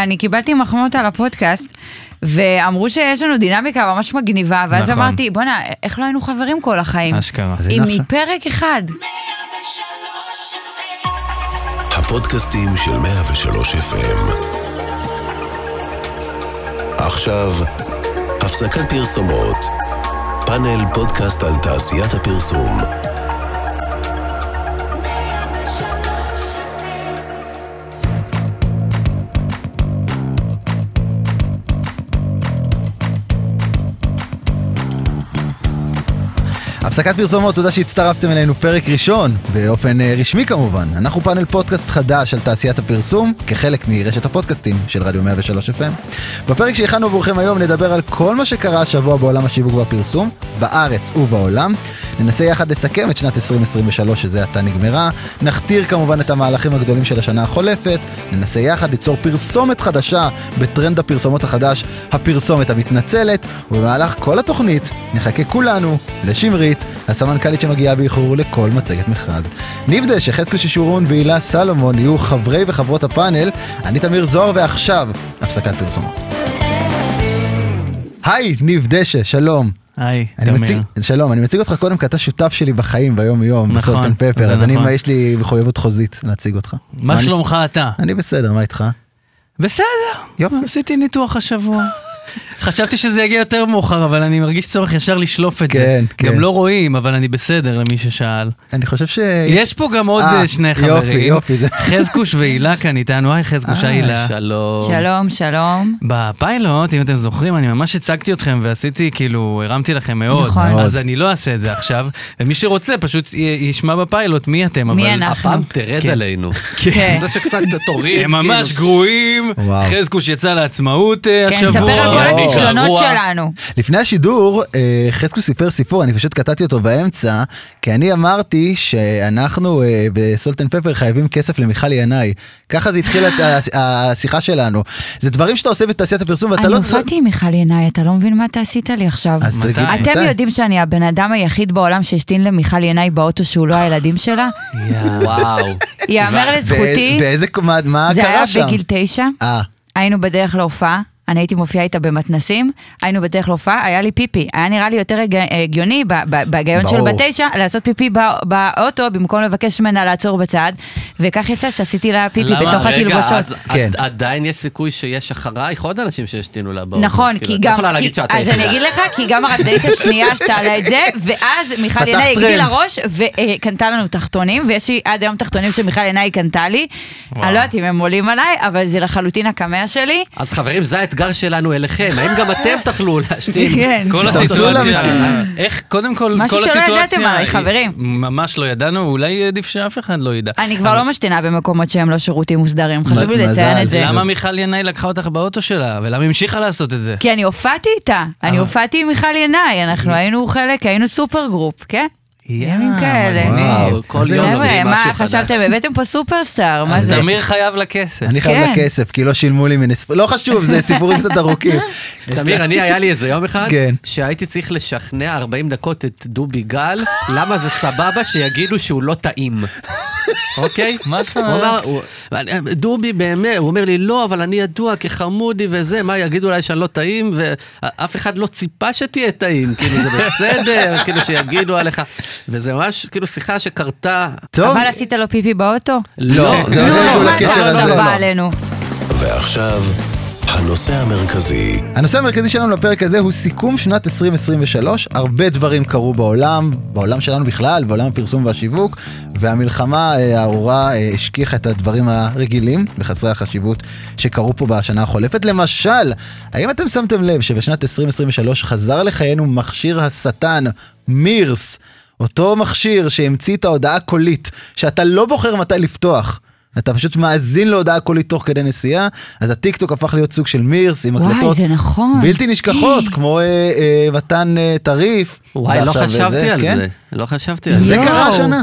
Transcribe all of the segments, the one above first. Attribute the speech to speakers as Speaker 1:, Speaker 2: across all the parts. Speaker 1: אני קיבלתי מחמאות על הפודקאסט, ואמרו שיש לנו דינמיקה ממש מגניבה, ואז
Speaker 2: נכון.
Speaker 1: אמרתי, בואנה, איך לא היינו חברים כל החיים?
Speaker 2: אשכרה.
Speaker 3: אז הנה
Speaker 1: אם
Speaker 3: עכשיו.
Speaker 1: מפרק אחד.
Speaker 4: הפודקאסטים של 103 FM. עכשיו, הפסקת פרסומות. פאנל פודקאסט על תעשיית הפרסום.
Speaker 3: הפסקת פרסומות, תודה שהצטרפתם אלינו, פרק ראשון, באופן אה, רשמי כמובן. אנחנו פאנל פודקאסט חדש על תעשיית הפרסום, כחלק מרשת הפודקאסטים של רדיו 103 FM. בפרק שהכנו עבורכם היום נדבר על כל מה שקרה השבוע בעולם השיווק והפרסום, בארץ ובעולם. ננסה יחד לסכם את שנת 2023 שזה עתה נגמרה, נכתיר כמובן את המהלכים הגדולים של השנה החולפת, ננסה יחד ליצור פרסומת חדשה בטרנד הפרסומות החדש, הפרסומת המתנצלת, ובמהלך כל התוכנית נחכה כולנו לשמרית, הסמנכ"לית שמגיעה באיחור לכל מצגת מכרז. ניב דשא, חזקו שישורון והילה סלומון יהיו חברי וחברות הפאנל, אני תמיר זוהר ועכשיו הפסקת פרסומות. היי, ניב דשא, שלום.
Speaker 2: היי,
Speaker 3: אני מציג,
Speaker 2: תמיר.
Speaker 3: שלום, אני מציג אותך קודם כי אתה שותף שלי בחיים ביום יום,
Speaker 2: נכון,
Speaker 3: בסולטן פפר, אז
Speaker 2: זה
Speaker 3: אני,
Speaker 2: נכון.
Speaker 3: יש לי מחויבות חוזית להציג אותך.
Speaker 2: מה
Speaker 3: אני-
Speaker 2: שלומך אתה?
Speaker 3: אני בסדר, מה איתך?
Speaker 2: בסדר,
Speaker 3: יופי.
Speaker 2: עשיתי ניתוח השבוע. חשבתי שזה יגיע יותר מאוחר, אבל אני מרגיש צורך ישר לשלוף את זה.
Speaker 3: כן, כן.
Speaker 2: גם לא רואים, אבל אני בסדר למי ששאל.
Speaker 3: אני חושב ש...
Speaker 2: יש פה גם עוד
Speaker 3: אה,
Speaker 2: אה, שני
Speaker 3: יופי,
Speaker 2: חברים.
Speaker 3: יופי, זה-
Speaker 2: חזקוש והילה כאן איתנו, היי חזקוש,
Speaker 3: אה,
Speaker 2: היי הילה.
Speaker 1: שלום, שלום.
Speaker 2: בפיילוט, אם אתם זוכרים, אני ממש הצגתי אתכם ועשיתי, כאילו, הרמתי לכם מאוד.
Speaker 1: נכון.
Speaker 3: מאוד.
Speaker 2: אז אני לא אעשה את זה עכשיו, ומי שרוצה פשוט י- ישמע בפיילוט מי אתם, אבל...
Speaker 1: מי אנחנו?
Speaker 5: הפעם תרד
Speaker 2: כן.
Speaker 5: עלינו.
Speaker 1: כן.
Speaker 5: זה שקצת תוריד.
Speaker 6: כן,
Speaker 2: הם
Speaker 5: כאילו,
Speaker 2: ממש גרועים,
Speaker 3: וואו.
Speaker 2: חזקוש יצא לעצמאות אה,
Speaker 1: כן,
Speaker 2: השבוע.
Speaker 1: ספר על
Speaker 5: אני
Speaker 1: כל הכישלונות
Speaker 5: גרוע.
Speaker 1: שלנו.
Speaker 3: לפני השידור, אה, חזקו סיפר סיפור, אני פשוט קטעתי אותו באמצע, כי אני אמרתי שאנחנו אה, בסולטן פפר חייבים כסף למיכל ינאי. ככה זה התחילה השיחה שלנו. זה דברים שאתה עושה בתעשיית הפרסום ואתה
Speaker 1: אני
Speaker 3: לא...
Speaker 1: הופעתי עם מיכל ינאי, אתה לא מבין מה אתה עשית לי עכשיו.
Speaker 3: אז
Speaker 2: מתי?
Speaker 3: תגיד מתי.
Speaker 1: אתם יודעים שאני הבן אדם היחיד בעולם שהשתין למיכל ינאי באוטו שהוא לא הילדים שלה?
Speaker 5: וואו.
Speaker 1: ייאמר
Speaker 3: בא-
Speaker 1: לזכותי,
Speaker 3: באיזה... מה מה
Speaker 1: זה היה
Speaker 3: קרה שם?
Speaker 1: בגיל תשע.
Speaker 3: אה,
Speaker 1: היינו בדרך להופעה, אני הייתי מופיעה איתה במתנסים, היינו בדרך להופעה, היה לי פיפי. היה נראה לי יותר הג- הגיוני, ב- ב- בהגיון של
Speaker 3: ברור.
Speaker 1: בתשע, לעשות פיפי בא- באוטו במקום לבקש ממנה לעצור בצד, וכך יצא שעשיתי לה פיפי
Speaker 5: למה?
Speaker 1: בתוך
Speaker 5: רגע, אז
Speaker 1: התלבושות.
Speaker 5: עד-
Speaker 3: כן.
Speaker 5: עדיין יש סיכוי שיש אחרייך עוד אנשים שהשתינו לה באוטו.
Speaker 1: נכון,
Speaker 5: כאילו,
Speaker 1: כי
Speaker 5: את לא
Speaker 1: גם,
Speaker 5: יכולה
Speaker 1: כי-
Speaker 5: להגיד שאת
Speaker 1: אז
Speaker 5: היחידה.
Speaker 1: אני אגיד לך, כי גם הרקדנית השנייה עשתה לה את זה, ואז מיכל
Speaker 3: פתח
Speaker 1: ינאי הגדילה
Speaker 3: טרנד.
Speaker 1: ראש וקנתה לנו תחתונים, ויש לי עד היום תחתונים שמיכל ינאי קנתה לי.
Speaker 2: וואו.
Speaker 1: אני לא יודעת אם הם עולים עליי, אבל זה לחלוטין הקמע שלי.
Speaker 5: אז חברים, זה האתגר שלנו אליכם. האם גם אתם תוכלו להשתין?
Speaker 1: כן.
Speaker 2: כל
Speaker 3: ספרו
Speaker 2: הסיטואציה,
Speaker 3: לה
Speaker 2: איך, קודם כל, כל
Speaker 1: משהו
Speaker 2: הסיטואציה,
Speaker 1: שלא ידעתם עליי,
Speaker 2: היא-
Speaker 1: חברים.
Speaker 2: ממש לא ידענו, אולי עדיף שאף אחד לא ידע.
Speaker 1: אני כבר לא משתינה במקומות שהם לא שירותים מוסדרים, חשוב לי
Speaker 3: מזל.
Speaker 1: לציין את זה.
Speaker 2: למה מיכל ינאי לקחה אותך באוטו שלה, ולמה המשיכה לעשות את זה?
Speaker 1: כי אני הופעתי איתה,
Speaker 3: אה.
Speaker 1: אני הופעתי עם מיכל ינאי, אנחנו היינו חלק, היינו סופר גרופ, כן? ימים כאלה.
Speaker 3: וואו,
Speaker 5: וואו, כל
Speaker 3: אז
Speaker 5: יום
Speaker 1: כן, חבר'ה,
Speaker 5: לומדים
Speaker 1: מה
Speaker 5: משהו חדש.
Speaker 1: חשבתם, הבאתם פה סופרסטאר, מה
Speaker 2: אז
Speaker 1: זה?
Speaker 2: תמיר חייב לה כסף.
Speaker 3: אני חייב
Speaker 1: כן.
Speaker 3: לכסף, כי לא שילמו לי מן... הספ- לא חשוב, זה סיפורים קצת ארוכים.
Speaker 5: תמיר, אני היה לי איזה יום אחד,
Speaker 3: כן.
Speaker 5: שהייתי צריך לשכנע 40 דקות את דובי גל, למה זה סבבה שיגידו שהוא לא טעים. אוקיי?
Speaker 2: מה זאת
Speaker 5: הוא
Speaker 2: אומרת?
Speaker 5: אמר, הוא- דובי באמת, הוא אומר לי, לא, אבל אני ידוע כחמודי וזה, מה יגידו עליי שאני לא טעים, ואף אחד לא ציפה שתהיה טעים, כאילו זה בסדר, כאילו שיגידו עליך, וזה ממש כאילו שיחה שקרתה.
Speaker 3: טוב,
Speaker 1: אבל עשית לו פיפי באוטו?
Speaker 3: לא, זה
Speaker 1: נו,
Speaker 3: עונה
Speaker 1: מה
Speaker 3: לי כל
Speaker 1: אתה
Speaker 3: הקשר הזה.
Speaker 1: עכשיו
Speaker 3: לא,
Speaker 1: בא
Speaker 3: לא.
Speaker 1: עלינו?
Speaker 4: ועכשיו, הנושא המרכזי.
Speaker 3: הנושא המרכזי שלנו לפרק הזה הוא סיכום שנת 2023. הרבה דברים קרו בעולם, בעולם שלנו בכלל, בעולם הפרסום והשיווק, והמלחמה אה, הארורה אה, השכיחה את הדברים הרגילים וחסרי החשיבות שקרו פה בשנה החולפת. למשל, האם אתם שמתם לב שבשנת 2023 חזר לחיינו מכשיר השטן, מירס, אותו מכשיר שהמציא את ההודעה הקולית, שאתה לא בוחר מתי לפתוח. אתה פשוט מאזין להודעה קולית תוך כדי נסיעה, אז הטיקטוק הפך להיות סוג של מירס עם
Speaker 1: וואי,
Speaker 3: הקלטות
Speaker 1: זה נכון.
Speaker 3: בלתי נשכחות, כמו אה, אה, מתן אה, טריף.
Speaker 5: וואי, לא
Speaker 3: ועכשיו
Speaker 5: חשבתי
Speaker 3: זה,
Speaker 5: על
Speaker 3: כן?
Speaker 5: זה, לא חשבתי על
Speaker 3: זה
Speaker 5: זה.
Speaker 1: יואו.
Speaker 3: קרה השנה.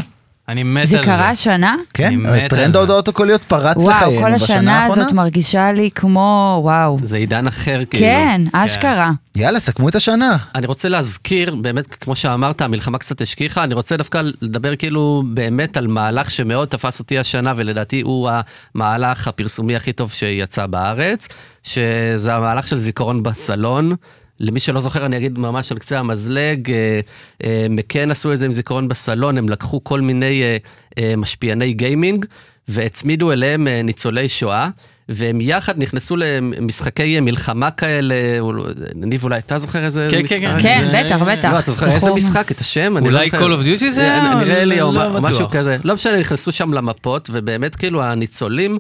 Speaker 6: אני מת על זה.
Speaker 1: זה קרה השנה?
Speaker 6: אני
Speaker 3: כן,
Speaker 6: מת על
Speaker 3: טרנד
Speaker 6: זה.
Speaker 3: ההודעות הקוליות פרץ
Speaker 1: וואו,
Speaker 3: לחיינו
Speaker 1: כל
Speaker 3: בשנה
Speaker 1: השנה
Speaker 3: האחרונה.
Speaker 1: הזאת מרגישה לי כמו, וואו.
Speaker 5: זה עידן אחר כאילו.
Speaker 1: כן, אשכרה.
Speaker 3: יאללה, סכמו את השנה.
Speaker 5: אני רוצה להזכיר, באמת, כמו שאמרת, המלחמה קצת השכיחה, אני רוצה דווקא לדבר כאילו באמת על מהלך שמאוד תפס אותי השנה, ולדעתי הוא המהלך הפרסומי הכי טוב שיצא בארץ, שזה המהלך של זיכרון בסלון. למי שלא זוכר, אני אגיד ממש על קצה המזלג, אה, אה, מקן עשו את זה עם זיכרון בסלון, הם לקחו כל מיני אה, אה, משפיעני גיימינג, והצמידו אליהם אה, ניצולי שואה. והם יחד נכנסו למשחקי מלחמה כאלה, אול- ניב אולי אתה זוכר איזה
Speaker 6: כן,
Speaker 5: משחק?
Speaker 6: כן, כן.
Speaker 1: כן,
Speaker 6: זה-
Speaker 1: בטח, בטח.
Speaker 5: לא, אתה זוכר איזה
Speaker 1: זכור.
Speaker 5: משחק? את השם? אני לא
Speaker 6: אולי
Speaker 5: זוכר.
Speaker 6: Call of Duty זה
Speaker 5: אה,
Speaker 6: היה?
Speaker 5: נראה לי, או
Speaker 6: לא
Speaker 5: מה-
Speaker 6: בטוח.
Speaker 5: משהו כזה. לא משנה, נכנסו שם למפות, ובאמת כאילו הניצולים,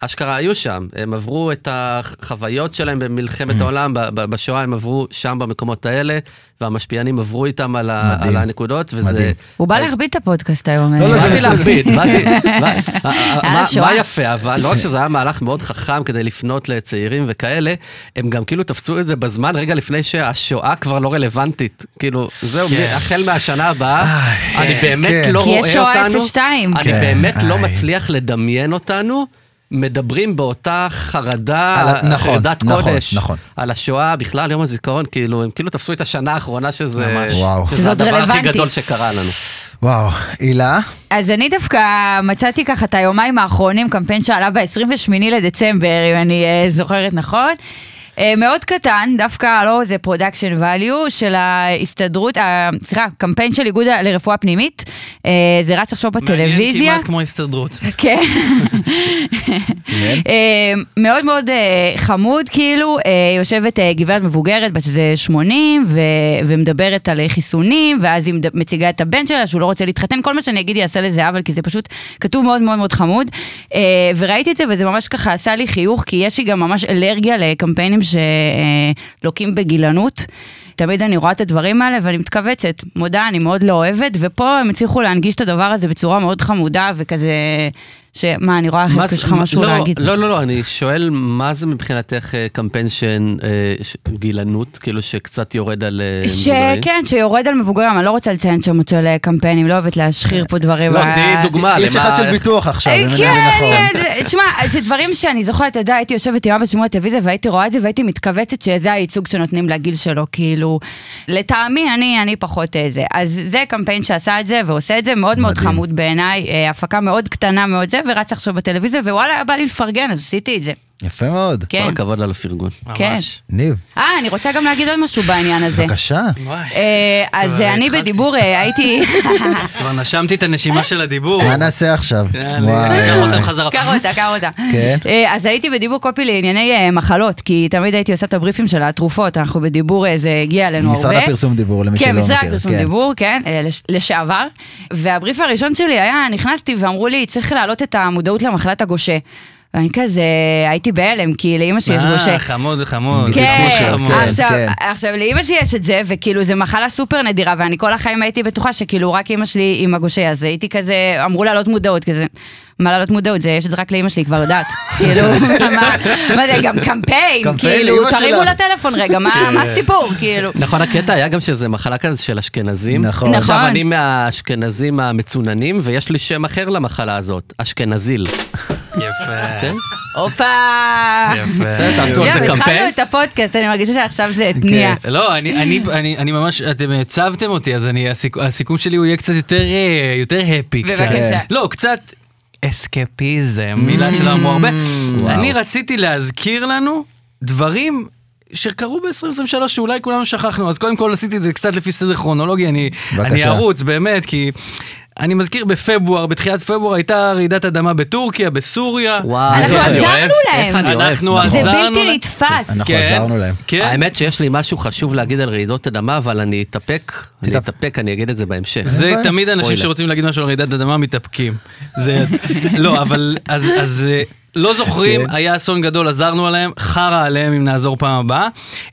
Speaker 5: אשכרה היו שם. הם עברו את החוויות שלהם
Speaker 6: Mm.
Speaker 5: במלחמת העולם, ב- ב- בשואה הם עברו שם במקומות האלה, והמשפיענים עברו איתם על ה-
Speaker 3: מדהים.
Speaker 5: על הנקודות, וזה...
Speaker 3: מדהים.
Speaker 1: הוא בא להכביד את הפודקאסט היום. אה.
Speaker 3: לא,
Speaker 1: אלי.
Speaker 3: לא,
Speaker 5: באתי להכביד, באתי, מה- מה-
Speaker 1: השואה.
Speaker 5: מה יפה, אבל לא רק שזה היה מהלך מאוד חכם כדי לפנות לצעירים וכאלה, הם גם כאילו תפסו את זה בזמן רגע לפני שהשואה כבר לא רלוונטית. כאילו, זהו,
Speaker 6: כן.
Speaker 5: החל מהשנה הבאה,
Speaker 3: איי,
Speaker 5: אני
Speaker 6: כן,
Speaker 5: באמת
Speaker 3: כן.
Speaker 5: לא
Speaker 1: כי יש
Speaker 5: רואה
Speaker 1: שואה
Speaker 5: אותנו,
Speaker 1: 02.
Speaker 5: אני
Speaker 3: כן,
Speaker 5: באמת לא
Speaker 3: איי.
Speaker 5: מצליח לדמיין אותנו. מדברים באותה
Speaker 3: על
Speaker 5: חרדה,
Speaker 3: ה- נכון,
Speaker 5: חרדת
Speaker 3: נכון,
Speaker 5: קודש,
Speaker 3: נכון.
Speaker 5: על השואה, בכלל יום הזיכרון, כאילו, הם כאילו תפסו את השנה האחרונה שזה,
Speaker 3: וואו.
Speaker 5: שזה
Speaker 1: שזה עוד
Speaker 5: הדבר הכי
Speaker 1: רלוונטי.
Speaker 5: גדול שקרה לנו.
Speaker 3: וואו, הילה,
Speaker 1: אז אני דווקא מצאתי ככה את היומיים האחרונים, קמפיין שעלה ב-28 לדצמבר, אם אני אה, זוכרת נכון. אה, מאוד קטן, דווקא לא איזה פרודקשן value של ההסתדרות, ה- סליחה, קמפיין של איגוד ה- לרפואה פנימית, אה, זה רץ עכשיו בטלוויזיה.
Speaker 6: מעניין כמעט כמו ההסתדרות.
Speaker 1: כן. אה, מאוד מאוד אה, חמוד, כאילו, אה, יושבת אה, גברת מבוגרת, בת איזה 80, ו- ומדברת על אה, חיסונים, ואז היא מד- מציגה את הבן שלה שהוא לא רוצה להתחתן, כל מה שאני אגיד יעשה לזה עוול, כי זה פשוט כתוב מאוד מאוד מאוד חמוד. אה, וראיתי את זה, וזה ממש ככה עשה לי חיוך, כי יש לי גם ממש אלרגיה לקמפיינים שלוקים בגילנות. תמיד אני רואה את הדברים האלה ואני מתכווצת. מודה, אני מאוד לא אוהבת, ופה הם הצליחו להנגיש את הדבר הזה בצורה מאוד חמודה וכזה... שמה, אני רואה
Speaker 5: מה
Speaker 1: לך,
Speaker 5: זה-
Speaker 1: אה, יש לך
Speaker 5: מה-
Speaker 1: משהו
Speaker 5: לא,
Speaker 1: להגיד.
Speaker 5: לא, לא, לא, אני שואל, מה זה מבחינתך אה, קמפיין של גילנות, כאילו שקצת יורד על אה, מבוגרים?
Speaker 1: שכן, כן, שיורד על מבוגרים, אני לא רוצה לציין שמות של אה, קמפיינים, לא אוהבת להשחיר פה דברים.
Speaker 5: לא,
Speaker 1: אה,
Speaker 5: תני דוגמה.
Speaker 3: יש
Speaker 5: למה-
Speaker 3: אחד של ביטוח עכשיו,
Speaker 1: אה,
Speaker 3: אם אני מבין
Speaker 1: כן,
Speaker 3: נכון.
Speaker 1: אה, תשמע, זה דברים שאני זוכרת, אתה יודע, הייתי יושבת עם אבא שלי מול הטלוויזיה והייתי רואה את זה והייתי מתכווצת שזה הייצוג שנותנים לגיל שלו, כאילו, לטעמי, אני, אני פחות אה, זה. אז זה קמפיין שעשה את זה ועושה את זה, מאוד מאוד
Speaker 3: מדהים.
Speaker 1: חמוד בעיניי, אה, הפקה מאוד קטנה מאוד זה, ורץ עכשיו בטלוויזיה, ווואלה, היה בא לי לפרגן, אז עשיתי את זה.
Speaker 3: נכון. יפה מאוד.
Speaker 1: כן.
Speaker 5: כל הכבוד על הפרגון.
Speaker 1: כן.
Speaker 6: ממש.
Speaker 3: ניב,
Speaker 1: אה, אני רוצה גם להגיד עוד משהו בעניין הזה.
Speaker 3: בבקשה.
Speaker 6: וואי.
Speaker 1: אה, אז
Speaker 6: כבר
Speaker 1: אה, אני
Speaker 6: התחלתי.
Speaker 1: בדיבור אה, הייתי...
Speaker 6: כבר נשמתי את הנשימה של הדיבור.
Speaker 3: מה נעשה עכשיו?
Speaker 6: כן, יאללה, ניקח אותם חזרה.
Speaker 1: קח אותה, קח אותה.
Speaker 3: כן.
Speaker 1: אה, אז הייתי בדיבור קופי לענייני אה, מחלות, כי תמיד הייתי עושה את הבריפים של התרופות, אנחנו בדיבור, אה, זה הגיע אלינו הרבה.
Speaker 3: משרד הפרסום דיבור, למי שלא
Speaker 1: כן, משרד
Speaker 3: מכיר,
Speaker 1: הפרסום
Speaker 3: כן.
Speaker 1: דיבור, כן, אה, לש- לשעבר. והבריף הראשון שלי היה, נכנסתי ואמרו לי, צריך להעלות את המודעות למחלת הגושה. ואני כזה, הייתי בהלם, כי לאימא שלי יש גושה.
Speaker 6: אה, חמוד, חמוד.
Speaker 1: כן,
Speaker 3: חמוד,
Speaker 1: עכשיו,
Speaker 3: כן.
Speaker 1: עכשיו לאימא שלי יש את זה, וכאילו זה מחלה סופר נדירה, ואני כל החיים הייתי בטוחה שכאילו רק אימא שלי עם הגושה, אז הייתי כזה, אמרו להעלות מודעות, כזה, מה להעלות מודעות, זה יש את זה רק לאימא שלי, היא כבר יודעת, כאילו, מה, מה זה, גם קמפיין,
Speaker 3: קמפיין
Speaker 1: כאילו,
Speaker 3: לאימא
Speaker 1: תרימו
Speaker 3: שלה.
Speaker 1: לטלפון רגע, מה מה הסיפור, כאילו.
Speaker 5: נכון, הקטע היה גם שזה מחלה כזה של אשכנזים.
Speaker 3: נכון.
Speaker 5: עכשיו
Speaker 1: נכון.
Speaker 5: אני מהאשכנזים המצוננים, ויש לי שם אחר למחלה הזאת, אשכנזיל.
Speaker 6: יפה.
Speaker 5: כן?
Speaker 1: הופה.
Speaker 6: יפה.
Speaker 5: בסדר, תעשו על
Speaker 1: זהו,
Speaker 5: זה
Speaker 1: התחלנו
Speaker 5: קמפיין.
Speaker 1: את הפודקאסט, אני מרגישה שעכשיו זה התניע.
Speaker 6: כן, לא, אני, אני, אני, אני ממש, אתם הצבתם אותי, אז אני, הסיכ, הסיכום שלי הוא יהיה קצת יותר, אה, יותר הפי. קצת.
Speaker 1: בבקשה.
Speaker 6: לא, קצת אסקפיזם, מילה שלא אמרו הרבה. אני רציתי להזכיר לנו דברים. שקרו ב-2023 שאולי כולנו שכחנו, אז קודם כל עשיתי את זה קצת לפי סדר כרונולוגי, אני,
Speaker 3: בבקשה.
Speaker 6: אני ארוץ באמת, כי אני מזכיר בפברואר, בתחילת פברואר הייתה רעידת אדמה בטורקיה, בסוריה.
Speaker 5: וואו,
Speaker 1: אנחנו
Speaker 5: איך אני
Speaker 1: עזרנו
Speaker 5: אוהב,
Speaker 1: להם.
Speaker 5: איך אני אוהב.
Speaker 6: אנחנו
Speaker 5: נכון.
Speaker 1: זה
Speaker 6: עזרנו להם.
Speaker 1: בלתי נתפס.
Speaker 3: אנחנו
Speaker 6: כן,
Speaker 3: עזרנו להם.
Speaker 6: כן.
Speaker 5: האמת שיש לי משהו חשוב להגיד על רעידות אדמה, אבל אני אתאפק, אני
Speaker 3: תתאפק.
Speaker 5: אתאפק, אני אגיד את זה בהמשך.
Speaker 6: זה
Speaker 3: בעיה.
Speaker 6: תמיד אנשים
Speaker 5: ספוילר.
Speaker 6: שרוצים להגיד משהו על רעידת אדמה מתאפקים. זה... לא, אבל אז... אז אה, לא זוכרים, היה אסון גדול, עזרנו עליהם, חרא עליהם אם נעזור פעם הבאה.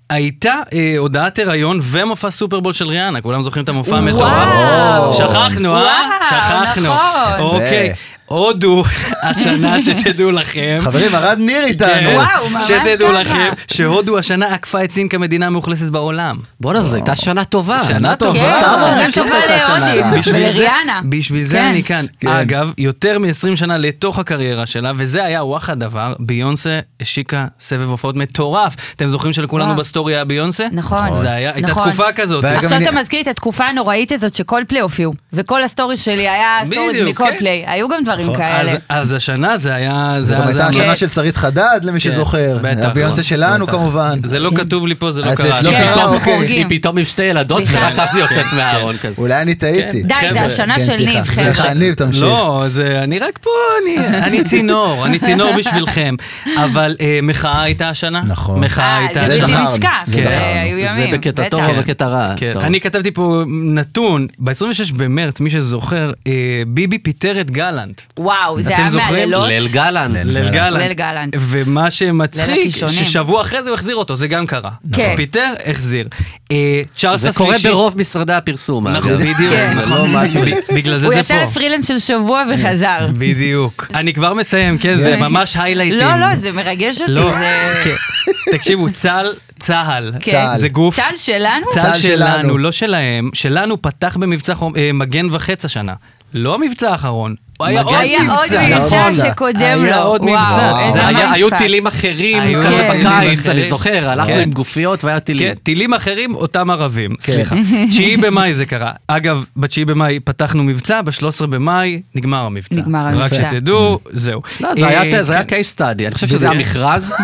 Speaker 6: הייתה אה, הודעת הריון ומופע סופרבול של ריאנה, כולם זוכרים את המופע המטורף?
Speaker 1: וואו.
Speaker 6: שכחנו, אה?
Speaker 1: וואו,
Speaker 6: שכחנו.
Speaker 1: נכון.
Speaker 6: אוקיי.
Speaker 3: ו-
Speaker 6: הודו השנה שתדעו לכם.
Speaker 3: חברים, ארד ניר איתנו.
Speaker 6: כן,
Speaker 1: וואו, ממש
Speaker 6: שתדעו
Speaker 1: ככה.
Speaker 6: לכם שהודו השנה עקפה את סין כמדינה מאוכלסת בעולם.
Speaker 5: בואנה, זו הייתה שנה טובה.
Speaker 3: שנה
Speaker 1: כן,
Speaker 3: טובה.
Speaker 5: סתם
Speaker 1: שנה
Speaker 5: אומרים
Speaker 6: כן,
Speaker 5: שזאת
Speaker 1: טובה
Speaker 5: הייתה שנה
Speaker 1: להודים.
Speaker 5: רעה.
Speaker 6: אה, בשביל זה,
Speaker 1: ולריאנה.
Speaker 6: בשביל
Speaker 1: כן.
Speaker 6: זה אני כאן.
Speaker 3: כן.
Speaker 6: אגב, יותר מ-20 שנה לתוך הקריירה שלה, וזה היה וואח הדבר, ביונסה השיקה סבב הופעות מטורף. אתם זוכרים שלכולנו
Speaker 1: וואו.
Speaker 6: בסטורי היה ביונסה?
Speaker 1: נכון.
Speaker 6: זה היה, הייתה
Speaker 1: נכון.
Speaker 6: תקופה כזאת.
Speaker 3: והיה גם
Speaker 1: עכשיו
Speaker 3: אני-
Speaker 1: אתה מזכיר לי את התקופה הנוראית הזאת שכל פליי הופיעו, וכל הסטורי שלי היה סטורי
Speaker 6: בדיוק,
Speaker 1: מכל
Speaker 6: כן.
Speaker 1: פליי, היו גם דברים כאלה. אה,
Speaker 6: אז- אז השנה זה היה...
Speaker 3: זו
Speaker 6: זה
Speaker 3: גם
Speaker 6: היה-
Speaker 3: הייתה
Speaker 6: זה היה-
Speaker 3: השנה של שרית חדד, למי שזוכר.
Speaker 6: בטח,
Speaker 3: הביונסה
Speaker 6: נכון,
Speaker 3: שלנו
Speaker 6: בטח.
Speaker 3: כמובן.
Speaker 6: זה לא כתוב לי פה, זה לא
Speaker 3: אז זה
Speaker 6: קרה.
Speaker 3: לא
Speaker 6: כן.
Speaker 1: כן,
Speaker 3: פתאום,
Speaker 1: אנחנו
Speaker 3: אוקיי.
Speaker 5: היא
Speaker 1: חורגים.
Speaker 5: פתאום עם שתי ילדות,
Speaker 1: סליחה.
Speaker 5: ורק אז היא יוצאת
Speaker 6: כן,
Speaker 5: מהארון כזה.
Speaker 3: אולי אני טעיתי.
Speaker 6: כן.
Speaker 1: די,
Speaker 6: חבר'ה,
Speaker 1: זה השנה
Speaker 3: כן,
Speaker 1: של
Speaker 3: סליחה.
Speaker 1: ניב,
Speaker 3: סליחה,
Speaker 1: חבר'ה.
Speaker 3: ניב, תמשיך.
Speaker 6: לא, זה, אני רק פה, אני, אני צינור, אני צינור בשבילכם. אבל אה, מחאה הייתה השנה.
Speaker 3: נכון.
Speaker 6: מחאה
Speaker 1: אה,
Speaker 6: הייתה
Speaker 1: זה
Speaker 3: דחרנו,
Speaker 1: בלתי
Speaker 6: השנה.
Speaker 1: נשכח,
Speaker 6: כן.
Speaker 1: זה היו
Speaker 5: זה
Speaker 1: ימים,
Speaker 5: בקטע טוב
Speaker 1: בטח.
Speaker 5: או בקטע רע.
Speaker 6: כן,
Speaker 5: טוב.
Speaker 6: אני כתבתי פה נתון, ב-26 במרץ, מי שזוכר, אה, ביבי פיטר את גלנט.
Speaker 1: וואו, זה
Speaker 6: אתם
Speaker 1: היה
Speaker 6: זוכרים?
Speaker 1: מהלילות.
Speaker 5: ליל גלנט.
Speaker 3: ליל
Speaker 6: ליל
Speaker 3: גלנט.
Speaker 6: גלנט.
Speaker 1: ליל גלנט.
Speaker 6: ומה
Speaker 1: ליל
Speaker 6: שמצחיק,
Speaker 1: הקישונים.
Speaker 6: ששבוע אחרי זה הוא החזיר אותו, זה גם קרה.
Speaker 1: כן.
Speaker 6: פיטר, החזיר. אה, צ'ארלס
Speaker 5: זה
Speaker 6: השלישי.
Speaker 5: קורה ברוב משרדי הפרסום.
Speaker 6: נכון,
Speaker 5: אגב.
Speaker 6: בדיוק. נכון.
Speaker 5: כן, זה לא משהו...
Speaker 6: בגלל זה
Speaker 1: הוא
Speaker 6: זה פה.
Speaker 1: יצא לפרילנס של שבוע וחזר.
Speaker 6: בדיוק. אני כבר מסיים, כן, זה ממש היילייטים.
Speaker 1: לא, לא, זה מרגש אותי.
Speaker 6: לא,
Speaker 1: זה-
Speaker 6: כן. תקשיבו, צה"ל, צה"ל,
Speaker 1: כן.
Speaker 3: צה"ל.
Speaker 6: זה גוף,
Speaker 1: צה"ל שלנו?
Speaker 6: צה"ל
Speaker 3: צה"ל
Speaker 6: שלנו,
Speaker 3: שלנו.
Speaker 6: לא שלהם, שלנו פתח במבצע חום- אה, מגן וחץ השנה. לא המבצע האחרון, הוא היה עוד
Speaker 1: היה עוד
Speaker 6: מבצע.
Speaker 1: מבצע
Speaker 3: נכון.
Speaker 1: שקודם לו.
Speaker 6: היה עוד
Speaker 1: וואו,
Speaker 6: מבצע.
Speaker 1: איזה
Speaker 5: זה היה-
Speaker 1: מיינדפאק.
Speaker 5: היו טילים אחרים
Speaker 6: היו
Speaker 5: כזה
Speaker 1: טילים
Speaker 5: בקיץ,
Speaker 6: אחרים.
Speaker 5: אני זוכר, הלכנו
Speaker 6: כן.
Speaker 5: עם גופיות והיה
Speaker 6: כן,
Speaker 5: טילים.
Speaker 6: טילים אחרים, אותם ערבים,
Speaker 3: כן.
Speaker 6: סליחה. 9 במאי זה קרה. אגב, ב-9 במאי פתחנו מבצע, ב-13 במאי נגמר המבצע.
Speaker 1: נגמר
Speaker 6: רק
Speaker 1: המבצע.
Speaker 6: שתדעו, זהו.
Speaker 5: לא, זה
Speaker 6: אה,
Speaker 5: היה- זה היה
Speaker 6: כן.
Speaker 5: case study, אני חושב שזה היה מכרז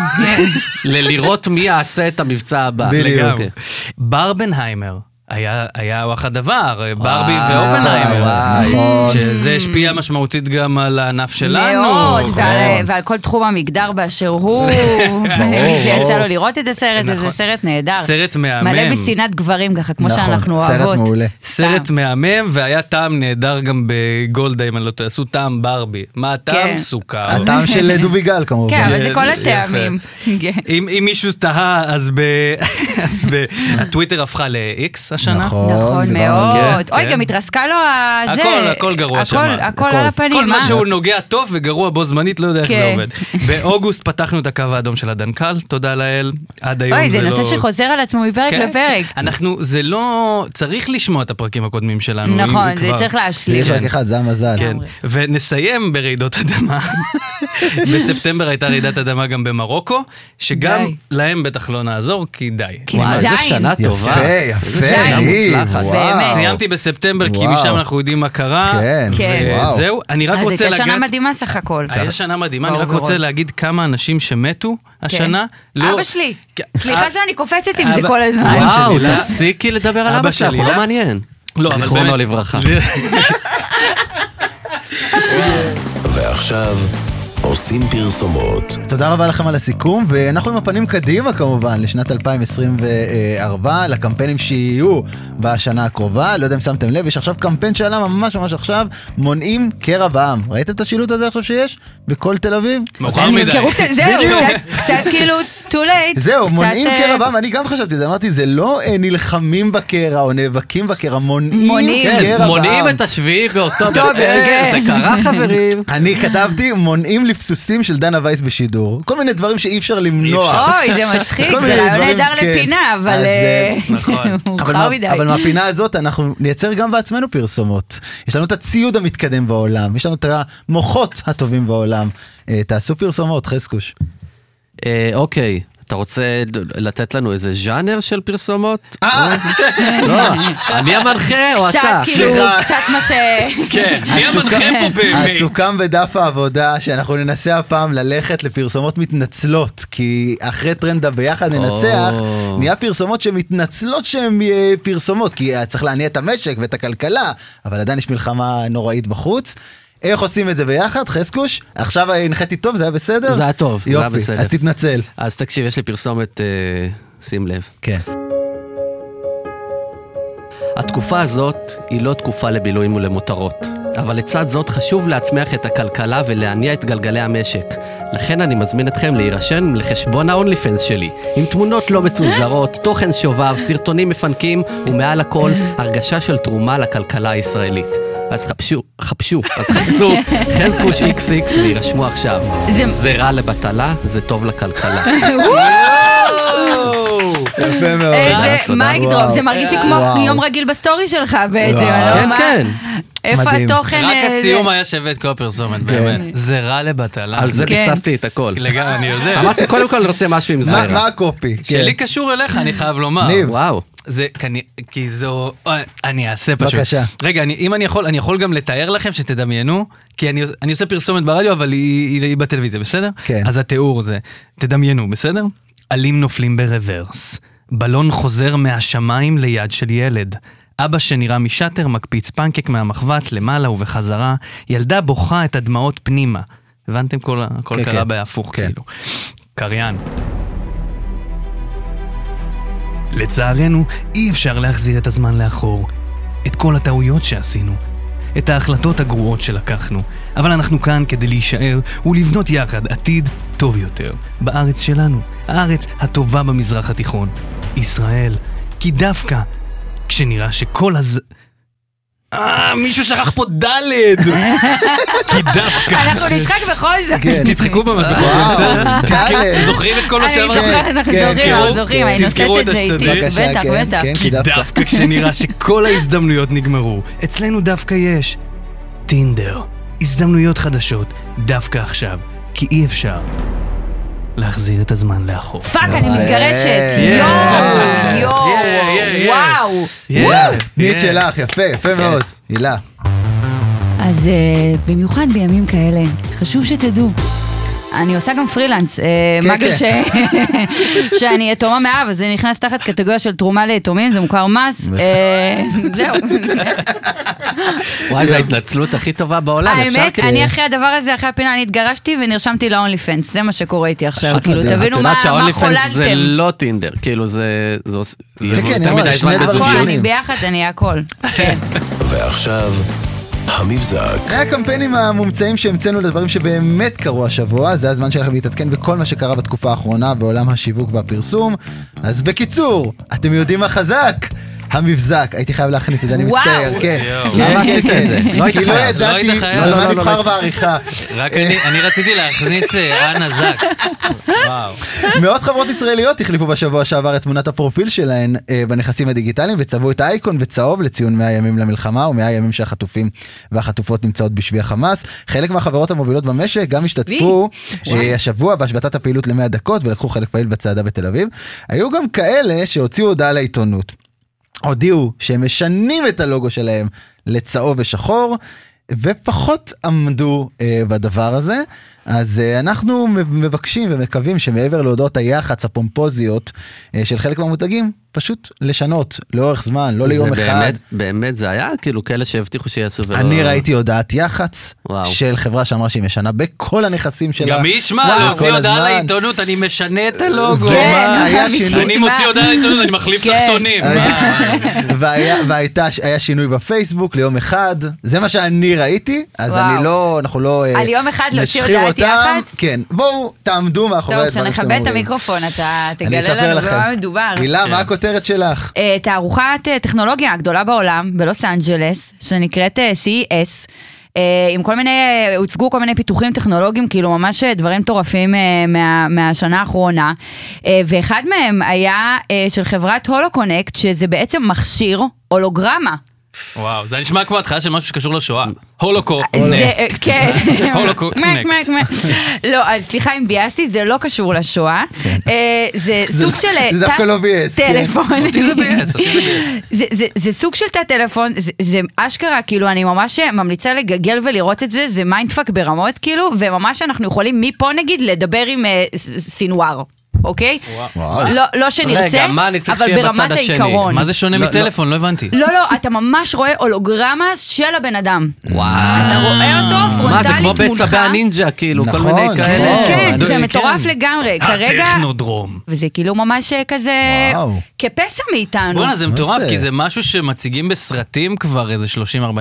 Speaker 5: ללראות מי יעשה את המבצע הבא.
Speaker 6: לגמרי.
Speaker 5: אוקיי.
Speaker 6: ברבנהיימר. היה, היה וואח הדבר, אה, ברבי
Speaker 5: וואי,
Speaker 6: ואופנהיימר,
Speaker 5: וואי.
Speaker 3: נכון.
Speaker 6: שזה השפיע משמעותית גם על הענף שלנו.
Speaker 1: מאוד,
Speaker 6: נכון.
Speaker 1: ועל- ועל כל תחום המגדר באשר הוא. מי שיצא לו לראות את הסרט,
Speaker 6: נכון.
Speaker 1: זה סרט נהדר.
Speaker 6: סרט מהמם.
Speaker 1: מלא בשנאת גברים ככה, כמו
Speaker 3: נכון,
Speaker 1: שאנחנו
Speaker 3: סרט
Speaker 1: אוהבות.
Speaker 3: מעולה.
Speaker 6: סרט מהמם, והיה טעם נהדר גם בגולדה, אם אני לא טועה, עשו טעם ברבי. מה הטעם?
Speaker 1: כן.
Speaker 6: סוכר.
Speaker 3: הטעם של דוביגל
Speaker 1: כן,
Speaker 3: כמובן.
Speaker 1: אבל זה כל
Speaker 6: יפה.
Speaker 1: הטעמים. כן.
Speaker 6: אם, אם מישהו תהה, אז, ב... אז ב... הטוויטר הפכה ל-X השנה.
Speaker 1: נכון
Speaker 3: דיברנו על זה.
Speaker 1: מאוד.
Speaker 6: כן,
Speaker 1: אוי,
Speaker 6: כן.
Speaker 1: גם התרסקה לו ה- זה.
Speaker 6: הכל, הכל גרוע
Speaker 1: הכל-
Speaker 6: שמה.
Speaker 1: הכל על הפנים.
Speaker 6: כל מה
Speaker 1: אה?
Speaker 6: שהוא נוגע טוב וגרוע בו זמנית, לא יודע איך זה
Speaker 1: כן.
Speaker 6: עובד. באוגוסט פתחנו את הקו האדום של הדנקל, תודה לאל. עד היום
Speaker 1: אוי,
Speaker 6: זה
Speaker 1: זה
Speaker 6: לא...
Speaker 1: נושא שחוזר על עצמו מפרק
Speaker 6: כן,
Speaker 1: לפרק.
Speaker 6: כן. אנחנו, זה לא... צריך לשמוע את הפרקים הקודמים שלנו. אם
Speaker 1: נכון, זה
Speaker 6: כבר.
Speaker 1: צריך להשלים.
Speaker 3: יש רק אחד, זה המזל.
Speaker 6: כן, ונסיים ברעידות אדמה. בספטמבר הייתה רעידת אדמה גם במרוקו, שגם
Speaker 1: די.
Speaker 6: להם בטח לא נעזור, כי די.
Speaker 1: כי
Speaker 5: וואי,
Speaker 1: זין.
Speaker 5: איזה שנה טובה.
Speaker 3: יפה, יפה,
Speaker 1: זין.
Speaker 3: ניר,
Speaker 5: מוצלחת.
Speaker 3: וואו.
Speaker 6: סיימתי בספטמבר, כי
Speaker 3: וואו.
Speaker 6: משם אנחנו יודעים מה קרה.
Speaker 3: כן,
Speaker 1: כן.
Speaker 3: וואו.
Speaker 6: וזהו, אני רק
Speaker 1: אז
Speaker 6: רוצה
Speaker 1: הייתה
Speaker 6: לגעת...
Speaker 1: שנה מדהימה סך הכל.
Speaker 6: היה שנה מדהימה, אני רק
Speaker 1: באוברול.
Speaker 6: רוצה להגיד כמה אנשים שמתו השנה. לא-
Speaker 1: כן. אבא שלי,
Speaker 6: כן, אה,
Speaker 1: סליחה שאני קופצת עם
Speaker 6: אבא-
Speaker 1: זה כל הזמן.
Speaker 6: אבא
Speaker 5: וואו,
Speaker 6: שלי, לא?
Speaker 5: תפסיקי לדבר על
Speaker 6: אבא
Speaker 5: אבא שלך,
Speaker 6: שלי,
Speaker 5: הוא
Speaker 6: לא?
Speaker 5: לא מעניין.
Speaker 6: לא, אבל
Speaker 5: זיכרונו
Speaker 6: באמת-
Speaker 5: לברכה.
Speaker 4: ועכשיו עושים פרסומות.
Speaker 3: תודה רבה לכם על הסיכום, ואנחנו עם הפנים קדימה כמובן, לשנת 2024, לקמפיינים שיהיו בשנה הקרובה. לא יודע אם שמתם לב, יש עכשיו קמפיין שעלה ממש ממש עכשיו, מונעים קרע בעם. ראיתם את השילוט הזה עכשיו שיש? בכל תל אביב?
Speaker 6: מאוחר
Speaker 1: הם
Speaker 6: מדי.
Speaker 1: נזכרו קצת, זהו,
Speaker 3: בדיוק.
Speaker 1: קצת- קצת כאילו too late.
Speaker 3: זהו,
Speaker 1: קצת,
Speaker 3: מונעים
Speaker 1: אה,
Speaker 3: קרע בעם, אני גם חשבתי את זה, אמרתי, זה לא אה, נלחמים בקרע או נאבקים בקרע, מונעים
Speaker 1: מונעים.
Speaker 5: כן,
Speaker 3: קרע בעם.
Speaker 5: מונעים את השביעי באוקטובר.
Speaker 1: אוקטובר,
Speaker 5: אה,
Speaker 1: כן.
Speaker 5: זה קרה חברים.
Speaker 3: אני כתבתי מונעים לפסוסים של דנה וייס בשידור, כל מיני דברים שאי אפשר למנוע.
Speaker 1: אוי, זה מצחיק,
Speaker 3: כל
Speaker 1: זה
Speaker 3: מיני
Speaker 1: רעיון
Speaker 3: דברים,
Speaker 1: נהדר
Speaker 3: כן.
Speaker 1: לפינה,
Speaker 3: אז,
Speaker 1: אבל
Speaker 3: אה,
Speaker 1: אה,
Speaker 6: נכון.
Speaker 3: אבל,
Speaker 1: מאוחר
Speaker 3: מה,
Speaker 1: מדי.
Speaker 3: אבל מהפינה הזאת אנחנו נייצר גם בעצמנו פרסומות. יש לנו את הציוד המתקדם בעולם, יש לנו את המוחות הטובים בעולם. אה, תעשו פרסומות, חזקוש.
Speaker 5: אה, אוקיי, אתה רוצה ד- לתת לנו איזה ז'אנר של פרסומות?
Speaker 3: אה,
Speaker 5: לא, אני המנחה או אתה?
Speaker 1: קצת כאילו,
Speaker 3: סליחה.
Speaker 1: קצת מה ש...
Speaker 6: כן, מי המנחה פה
Speaker 3: אז
Speaker 6: באמת?
Speaker 3: סוכם בדף העבודה שאנחנו ננסה הפעם ללכת לפרסומות מתנצלות, כי אחרי טרנד הביחד ננצח,
Speaker 5: או.
Speaker 3: נהיה פרסומות שמתנצלות שהן אה, פרסומות, כי אה, צריך להניע את המשק ואת הכלכלה, אבל עדיין יש מלחמה נוראית בחוץ. איך עושים את זה ביחד, חזקוש? עכשיו אה, הנחיתי טוב, זה היה בסדר?
Speaker 5: זה היה טוב, זה היה
Speaker 3: יופי,
Speaker 5: בסדר.
Speaker 3: אז תתנצל.
Speaker 5: אז תקשיב, יש לי פרסומת, אה, שים לב.
Speaker 3: כן.
Speaker 5: התקופה הזאת היא לא תקופה לבילויים ולמותרות, אבל לצד זאת חשוב להצמיח את הכלכלה ולהניע את גלגלי המשק. לכן אני מזמין אתכם להירשם לחשבון ה-only fans שלי, עם תמונות לא מצונזרות, תוכן שובב, סרטונים מפנקים, ומעל הכל, הרגשה של תרומה לכלכלה הישראלית. אז חפשו, חפשו, אז חפשו חזקוש XX וירשמו עכשיו.
Speaker 1: זה-
Speaker 5: זה רע לבטלה, זה טוב לכלכלה.
Speaker 1: אה,
Speaker 3: יפה מאוד.
Speaker 5: תודה,
Speaker 1: איזה
Speaker 5: תודה.
Speaker 1: מייק דרופ, זה
Speaker 3: וואו.
Speaker 1: מרגיש לי כמו
Speaker 3: וואו.
Speaker 1: יום רגיל בסטורי שלך בעצם,
Speaker 3: וואו.
Speaker 1: לא?
Speaker 5: כן,
Speaker 1: מה-
Speaker 5: כן.
Speaker 1: איפה
Speaker 3: מדהים.
Speaker 1: התוכן?
Speaker 6: רק
Speaker 1: אה, זה-
Speaker 6: הסיום היה שווה את כל
Speaker 3: כן.
Speaker 6: הפרסומת, באמת. זה רע לבטלה.
Speaker 5: על זה
Speaker 1: כן.
Speaker 5: ביססתי את הכל.
Speaker 6: לגמרי, אני יודע.
Speaker 5: אמרתי, קודם כל אני רוצה משהו עם
Speaker 3: כן. מה- מה
Speaker 5: זרע. אה,
Speaker 3: הקופי? כן.
Speaker 6: שלי קשור אליך, אני חייב לומר.
Speaker 3: ניב.
Speaker 5: וואו.
Speaker 6: זה כנראה, כי זו, אה, אני אעשה פשוט.
Speaker 3: בבקשה.
Speaker 6: רגע, אני, אם אני יכול, אני יכול גם לתאר לכם שתדמיינו, כי אני, אני עושה פרסומת ברדיו, אבל היא, היא, היא בטלוויזיה, בסדר?
Speaker 3: כן.
Speaker 6: אז התיאור זה, תדמיינו, בסדר? עלים נופלים ברוורס, בלון חוזר מהשמיים ליד של ילד. אבא שנראה משאטר מקפיץ פנקק מהמחבת למעלה ובחזרה, ילדה בוכה את הדמעות פנימה. הבנתם? כל, ה- הכל
Speaker 3: כן,
Speaker 6: קרה
Speaker 3: כן.
Speaker 6: בהפוך,
Speaker 3: כן.
Speaker 6: כאילו. קריין. לצערנו, אי אפשר להחזיר את הזמן לאחור. את כל הטעויות שעשינו. את ההחלטות הגרועות שלקחנו. אבל אנחנו כאן כדי להישאר ולבנות יחד עתיד טוב יותר. בארץ שלנו. הארץ הטובה במזרח התיכון. ישראל. כי דווקא כשנראה שכל הז... אה, מישהו שכח פה ד' כי דווקא...
Speaker 1: אנחנו נצחק בכל זאת.
Speaker 3: כן.
Speaker 6: תצחקו ממש בכל
Speaker 3: וואו,
Speaker 6: זאת,
Speaker 3: טל.
Speaker 6: בסדר? זוכרים את כל מה
Speaker 1: אני
Speaker 6: שאמרתי?
Speaker 1: זוכרת, אנחנו
Speaker 3: כן,
Speaker 1: זוכרים,
Speaker 6: תזכרו-
Speaker 1: אנחנו זוכרים, אני נושאת את
Speaker 6: תזכרו את
Speaker 1: זה איתי,
Speaker 6: השטויות.
Speaker 3: בבקשה,
Speaker 1: בטח,
Speaker 3: כן,
Speaker 1: בטח.
Speaker 3: כן, כי
Speaker 6: כי
Speaker 3: דווקא.
Speaker 6: דווקא כשנראה שכל ההזדמנויות נגמרו, אצלנו דווקא יש טינדר, הזדמנויות חדשות, דווקא עכשיו, כי אי אפשר להחזיר את הזמן לאחור.
Speaker 1: פאק, אני
Speaker 3: אה,
Speaker 1: מתגרשת,
Speaker 3: אה,
Speaker 1: יואו,
Speaker 3: אה,
Speaker 1: יואו,
Speaker 6: אה, אה,
Speaker 1: וואו.
Speaker 3: וואו,
Speaker 6: Yeah,
Speaker 3: תני את
Speaker 6: yeah.
Speaker 3: שלך, יפה, יפה מאוד. הילה.
Speaker 1: אז אה, במיוחד בימים כאלה, חשוב שתדעו. אני עושה גם פרילנס, אה,
Speaker 3: כן,
Speaker 1: מגד
Speaker 3: כן.
Speaker 1: ש... שאני יתומה מאב, אז זה נכנס תחת קטגוריה של תרומה ליתומים, זה מוכר מס, אה, זהו.
Speaker 5: וואי, זו ההתנצלות הכי טובה בעולם, אפשר
Speaker 1: האמת,
Speaker 5: כאילו...
Speaker 1: אני אחרי הדבר הזה, אחרי הפינה, אני התגרשתי ונרשמתי להונלי פנס, זה מה שקורה איתי עכשיו,
Speaker 3: את
Speaker 1: כאילו,
Speaker 3: יודעת,
Speaker 5: את
Speaker 1: תבינו מה
Speaker 5: יודעת
Speaker 1: מה
Speaker 5: שהאונלי פנס זה
Speaker 1: חוללתם.
Speaker 5: לא טינדר, כאילו זה... זה עוש- זה
Speaker 3: כן, כן,
Speaker 5: יותר
Speaker 3: אני רואה,
Speaker 5: מדי זמן
Speaker 3: שני
Speaker 5: בזוג
Speaker 1: נכון,
Speaker 3: דברים.
Speaker 5: שלי.
Speaker 1: אני ביחד, אני הכל. כן.
Speaker 4: ועכשיו, המבזק.
Speaker 3: אחרי הקמפיינים המומצאים שהמצאנו לדברים שבאמת קרו השבוע, זה הזמן שלכם להתעדכן בכל מה שקרה בתקופה האחרונה בעולם השיווק והפרסום. אז בקיצור, אתם יודעים מה חזק? המבזק, הייתי חייב להכניס את זה, אני
Speaker 1: וואו.
Speaker 3: מצטער, כן.
Speaker 6: יואו.
Speaker 3: כן,
Speaker 5: למה
Speaker 3: כן,
Speaker 5: עשית
Speaker 3: כן.
Speaker 5: את זה? לא היית
Speaker 3: כי לא
Speaker 5: חייב.
Speaker 6: לא היית
Speaker 3: ידעתי,
Speaker 6: חייב.
Speaker 3: לא,
Speaker 6: לא,
Speaker 3: מה
Speaker 5: לא, לא,
Speaker 3: נבחר
Speaker 5: לא.
Speaker 3: בעריכה.
Speaker 6: רק אני, אני רציתי להכניס אה, אנה זק.
Speaker 3: מאות חברות ישראליות החליפו בשבוע שעבר את תמונת הפרופיל שלהן אה, בנכסים הדיגיטליים וצבעו את האייקון בצהוב לציון 100 ימים למלחמה ומאה ימים שהחטופים והחטופות נמצאות בשבי החמאס. חלק מהחברות המובילות במשק גם השתתפו אה, השבוע בהשבתת הפעילות ל-100 דקות ולקחו חלק פעיל בצעדה בתל אביב. היו גם כאלה שהוציאו הודעה לעיתונות. הודיעו שהם משנים את הלוגו שלהם לצהוב ושחור. ופחות עמדו אה, בדבר הזה, אז אה, אנחנו מבקשים ומקווים שמעבר להודעות היח"צ הפומפוזיות אה, של חלק מהמותגים, פשוט לשנות לאורך זמן, לא ליום
Speaker 5: זה
Speaker 3: אחד.
Speaker 5: באמת, באמת זה היה? כאילו כאלה שהבטיחו שיעשו ולא...
Speaker 3: אני ראיתי הודעת יח"צ
Speaker 5: וואו.
Speaker 3: של חברה שאמרה שהיא משנה בכל הנכסים שלה.
Speaker 6: גם מי ישמע,
Speaker 3: וואו.
Speaker 6: להוציא
Speaker 3: כל
Speaker 6: הודעה
Speaker 3: הזמן.
Speaker 6: לעיתונות, אני משנה את הלוגו.
Speaker 1: כן,
Speaker 6: מה?
Speaker 3: היה
Speaker 1: מי
Speaker 3: שינוי.
Speaker 6: אני
Speaker 1: ישמע?
Speaker 6: מוציא הודעה לעיתונות, אני מחליף
Speaker 1: כן.
Speaker 6: תחתונים. מה?
Speaker 3: והיה והייתה- היה שינוי בפייסבוק ליום אחד, זה מה שאני ראיתי, אז
Speaker 1: וואו.
Speaker 3: אני לא, אנחנו לא אה,
Speaker 1: על יום אחד להוציא
Speaker 3: נשחיר
Speaker 1: הודעת
Speaker 3: אותם.
Speaker 1: יח"צ?
Speaker 3: כן, בואו תעמדו מאחורי
Speaker 1: טוב,
Speaker 3: הדברים שאתם אומרים.
Speaker 1: כשנכבד את המיקרופון, אתה
Speaker 3: אני
Speaker 1: תגלה
Speaker 3: אספר
Speaker 1: לנו
Speaker 3: לכם.
Speaker 1: במה מדובר.
Speaker 3: הילה,
Speaker 6: כן.
Speaker 3: מה הכותרת שלך?
Speaker 1: אה, תערוכת אה, טכנולוגיה הגדולה בעולם בלוס אנג'לס, שנקראת אה, CES. אה, עם כל מיני, אה, הוצגו כל מיני פיתוחים טכנולוגיים, כאילו ממש אה, דברים מטורפים אה, מה, מהשנה האחרונה. אה, ואחד מהם היה אה, של חברת הולוקונקט, שזה בעצם מכשיר הולוגרמה.
Speaker 6: וואו, זה נשמע כמו התחלה של משהו שקשור לשואה. הולוקו.
Speaker 1: זה, אה, כן.
Speaker 6: הולוקונקט.
Speaker 1: מק, מק, מק. לא, אז סליחה אם ביאסתי, זה לא קשור לשואה. אה, זה סוג של... אה,
Speaker 3: זה דווקא
Speaker 1: טל-
Speaker 3: לא ביאס, כן.
Speaker 1: טלפון.
Speaker 6: אותי זה ביאס, אותי זה ביאס.
Speaker 1: זה, זה, זה סוג של תא טלפון, זה, זה אשכרה, כאילו, אני ממש ממליצה לגגל ולראות את זה, זה מיינדפאק ברמות, כאילו, וממש אנחנו יכולים מפה נגיד לדבר עם אה, ס- סינואר, אוקיי?
Speaker 3: וואו.
Speaker 1: לא, לא שנרצה,
Speaker 5: רגע, מה אני צריך
Speaker 1: אבל
Speaker 5: שיהיה
Speaker 1: ברמת
Speaker 5: בצד השני?
Speaker 1: העיקרון.
Speaker 6: מה זה שונה
Speaker 5: לא,
Speaker 6: מטלפון? לא הבנתי.
Speaker 1: לא, לא, אתה ממש רואה הולוגרמה של הבן אדם.
Speaker 5: וואו.
Speaker 1: אתה רואה אותו פרונטלית מולך.
Speaker 5: מה, זה כמו בצבי הנינג'ה, כאילו, כל
Speaker 3: נכון,
Speaker 5: מיני כאלה.
Speaker 3: נכון.
Speaker 1: כן, זה
Speaker 6: כן.
Speaker 1: מטורף לגמרי. כרגע...
Speaker 6: הטכנודרום.
Speaker 1: וזה כאילו ממש אה, כזה...
Speaker 3: וואו.
Speaker 1: כפסע מאיתנו.
Speaker 6: בואנה, זה
Speaker 3: מה
Speaker 6: מטורף,
Speaker 3: זה?
Speaker 6: כי זה משהו שמציגים בסרטים כבר איזה 30-40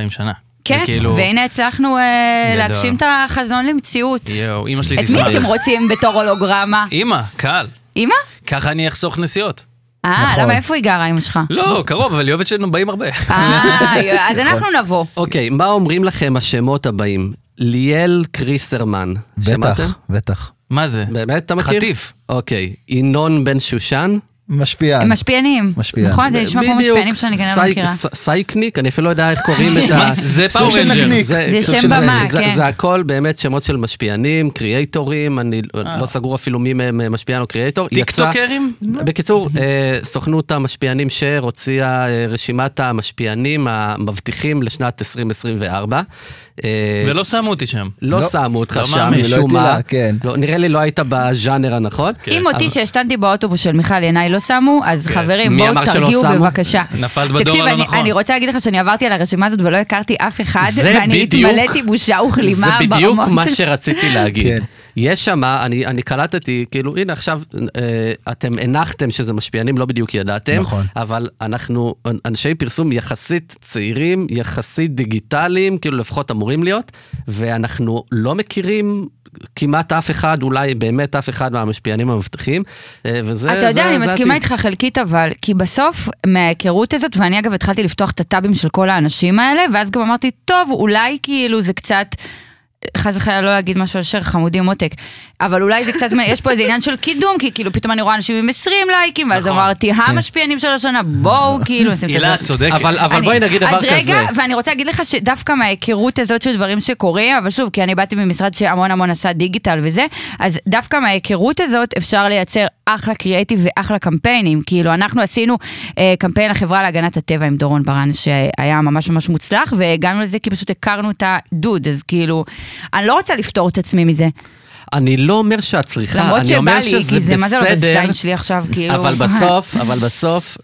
Speaker 6: שנה.
Speaker 1: כן,
Speaker 6: זה כאילו-
Speaker 1: והנה הצלחנו אה,
Speaker 6: גדול.
Speaker 1: להגשים את החזון למציאות.
Speaker 6: יואו, אמא שלי
Speaker 1: את מי
Speaker 6: תשמח.
Speaker 1: אתם רוצים בתור הולוגרמה?
Speaker 6: אמא, קל.
Speaker 1: אמא?
Speaker 6: ככה אני אחסוך נסיעות.
Speaker 1: אה,
Speaker 3: נכון.
Speaker 1: למה איפה היא גרה, אמא שלך?
Speaker 2: לא, קרוב, אבל היא אוהבת שבאים הרבה.
Speaker 1: אה, אז
Speaker 3: נכון.
Speaker 1: אנחנו נבוא.
Speaker 5: אוקיי, מה אומרים לכם השמות הבאים? ליאל קריסרמן.
Speaker 3: בטח,
Speaker 5: שמעתם?
Speaker 3: בטח.
Speaker 2: מה זה?
Speaker 5: באמת, אתה מכיר?
Speaker 2: חטיף.
Speaker 5: אוקיי, ינון בן שושן.
Speaker 3: משפיען.
Speaker 1: הם משפיענים.
Speaker 3: משפיען.
Speaker 1: נכון, זה נשמע כמו
Speaker 5: בדיוק,
Speaker 1: משפיענים שאני כנראה לא
Speaker 5: סי-
Speaker 1: מכירה.
Speaker 5: ס- סייקניק, אני אפילו לא יודע איך קוראים את ה...
Speaker 2: זה
Speaker 3: סוג
Speaker 2: פאור
Speaker 3: של
Speaker 2: רנג'ר.
Speaker 3: נקניק.
Speaker 1: זה שם במה,
Speaker 5: זה-
Speaker 1: כן.
Speaker 5: זה הכל באמת שמות של משפיענים, קריאייטורים, אני לא סגור אפילו מי מהם אה, משפיען או קריאייטור. יצא-
Speaker 2: אה. טיקטוקרים? לא.
Speaker 5: בקיצור, אה, סוכנות המשפיענים שר הוציאה אה, רשימת המשפיענים המבטיחים לשנת 2024. אה,
Speaker 2: ולא שמו אותי שם.
Speaker 5: לא
Speaker 3: לא.
Speaker 5: שמו אותך
Speaker 2: לא
Speaker 5: שם
Speaker 2: מאמין.
Speaker 5: משום
Speaker 3: לא הטילה,
Speaker 5: מה.
Speaker 3: כן.
Speaker 5: לא, נראה לי לא היית בז'אנר הנכון.
Speaker 2: כן.
Speaker 1: אם אותי שהשתנתי באוטובוס של מיכל ינאי לא שמו, אז חברים,
Speaker 5: כן. מי
Speaker 1: בואו
Speaker 5: אמר שלא
Speaker 1: תרגיעו
Speaker 5: שמו?
Speaker 1: בבקשה.
Speaker 2: נפלת בדור
Speaker 1: תקשיב,
Speaker 2: הלא
Speaker 1: אני-
Speaker 2: נכון.
Speaker 1: אני רוצה להגיד לך שאני עברתי על הרשימה הזאת ולא הכרתי אף אחד,
Speaker 5: זה
Speaker 1: ואני
Speaker 5: בדיוק-
Speaker 1: התמלאתי בושה
Speaker 5: זה
Speaker 1: וכלימה ברמות.
Speaker 5: בדיוק מה שרציתי להגיד.
Speaker 3: כן.
Speaker 5: יש שם, אני, אני קלטתי, כאילו, הנה עכשיו, אה, אתם הנחתם שזה משפיענים, לא בדיוק ידעתם,
Speaker 3: נכון.
Speaker 5: אבל אנחנו אנ- אנשי פרסום יחסית צעירים, יחסית דיגיטליים, כאילו לפחות אמורים להיות, ואנחנו לא מכירים כמעט אף אחד, אולי באמת אף אחד מהמשפיענים המבטיחים, אה, וזה...
Speaker 1: אתה יודע,
Speaker 5: זה-
Speaker 1: אני
Speaker 5: זה
Speaker 1: מסכימה
Speaker 5: העתיד.
Speaker 1: איתך חלקית, אבל כי בסוף, מההיכרות הזאת, ואני אגב התחלתי לפתוח את הטאבים של כל האנשים האלה, ואז גם אמרתי, טוב, אולי כאילו זה קצת... חס וחלילה לא להגיד משהו על שר חמודי מותק, אבל אולי זה קצת, יש פה איזה עניין של קידום, כי כאילו פתאום אני רואה אנשים עם 20 לייקים, ואז
Speaker 2: נכון.
Speaker 1: אמרתי,
Speaker 5: כן.
Speaker 1: המשפיענים של השנה, בואו כאילו, נשים את
Speaker 2: הילה, את
Speaker 1: הדבר-
Speaker 2: צודקת.
Speaker 5: אבל,
Speaker 3: כן.
Speaker 5: אבל
Speaker 1: אני-
Speaker 5: בואי נגיד דבר כזה.
Speaker 1: אז רגע, ואני רוצה להגיד לך שדווקא מההיכרות הזאת של דברים שקורים, אבל שוב, כי אני באתי ממשרד שהמון המון עשה דיגיטל וזה, אז דווקא מההיכרות הזאת אפשר לייצר אחלה קריאיטיב ואחלה קמפיינים. כאילו, אנחנו עשינו אה, קמפיין לחברה להגנת הטבע עם דורון ברן, שהיה ממש ממש מוצלח, והגענו לזה כי פשוט הכרנו את הדוד, אז כאילו, אני לא רוצה לפטור את עצמי מזה.
Speaker 5: אני לא אומר שאת צריכה,
Speaker 1: למרות
Speaker 5: אני
Speaker 1: שבא
Speaker 5: אומר
Speaker 1: לי,
Speaker 5: שזה
Speaker 1: כי זה מה זה לא
Speaker 5: בסדר,
Speaker 1: בזין שלי עכשיו, כאילו.
Speaker 5: אבל בסוף, אבל בסוף,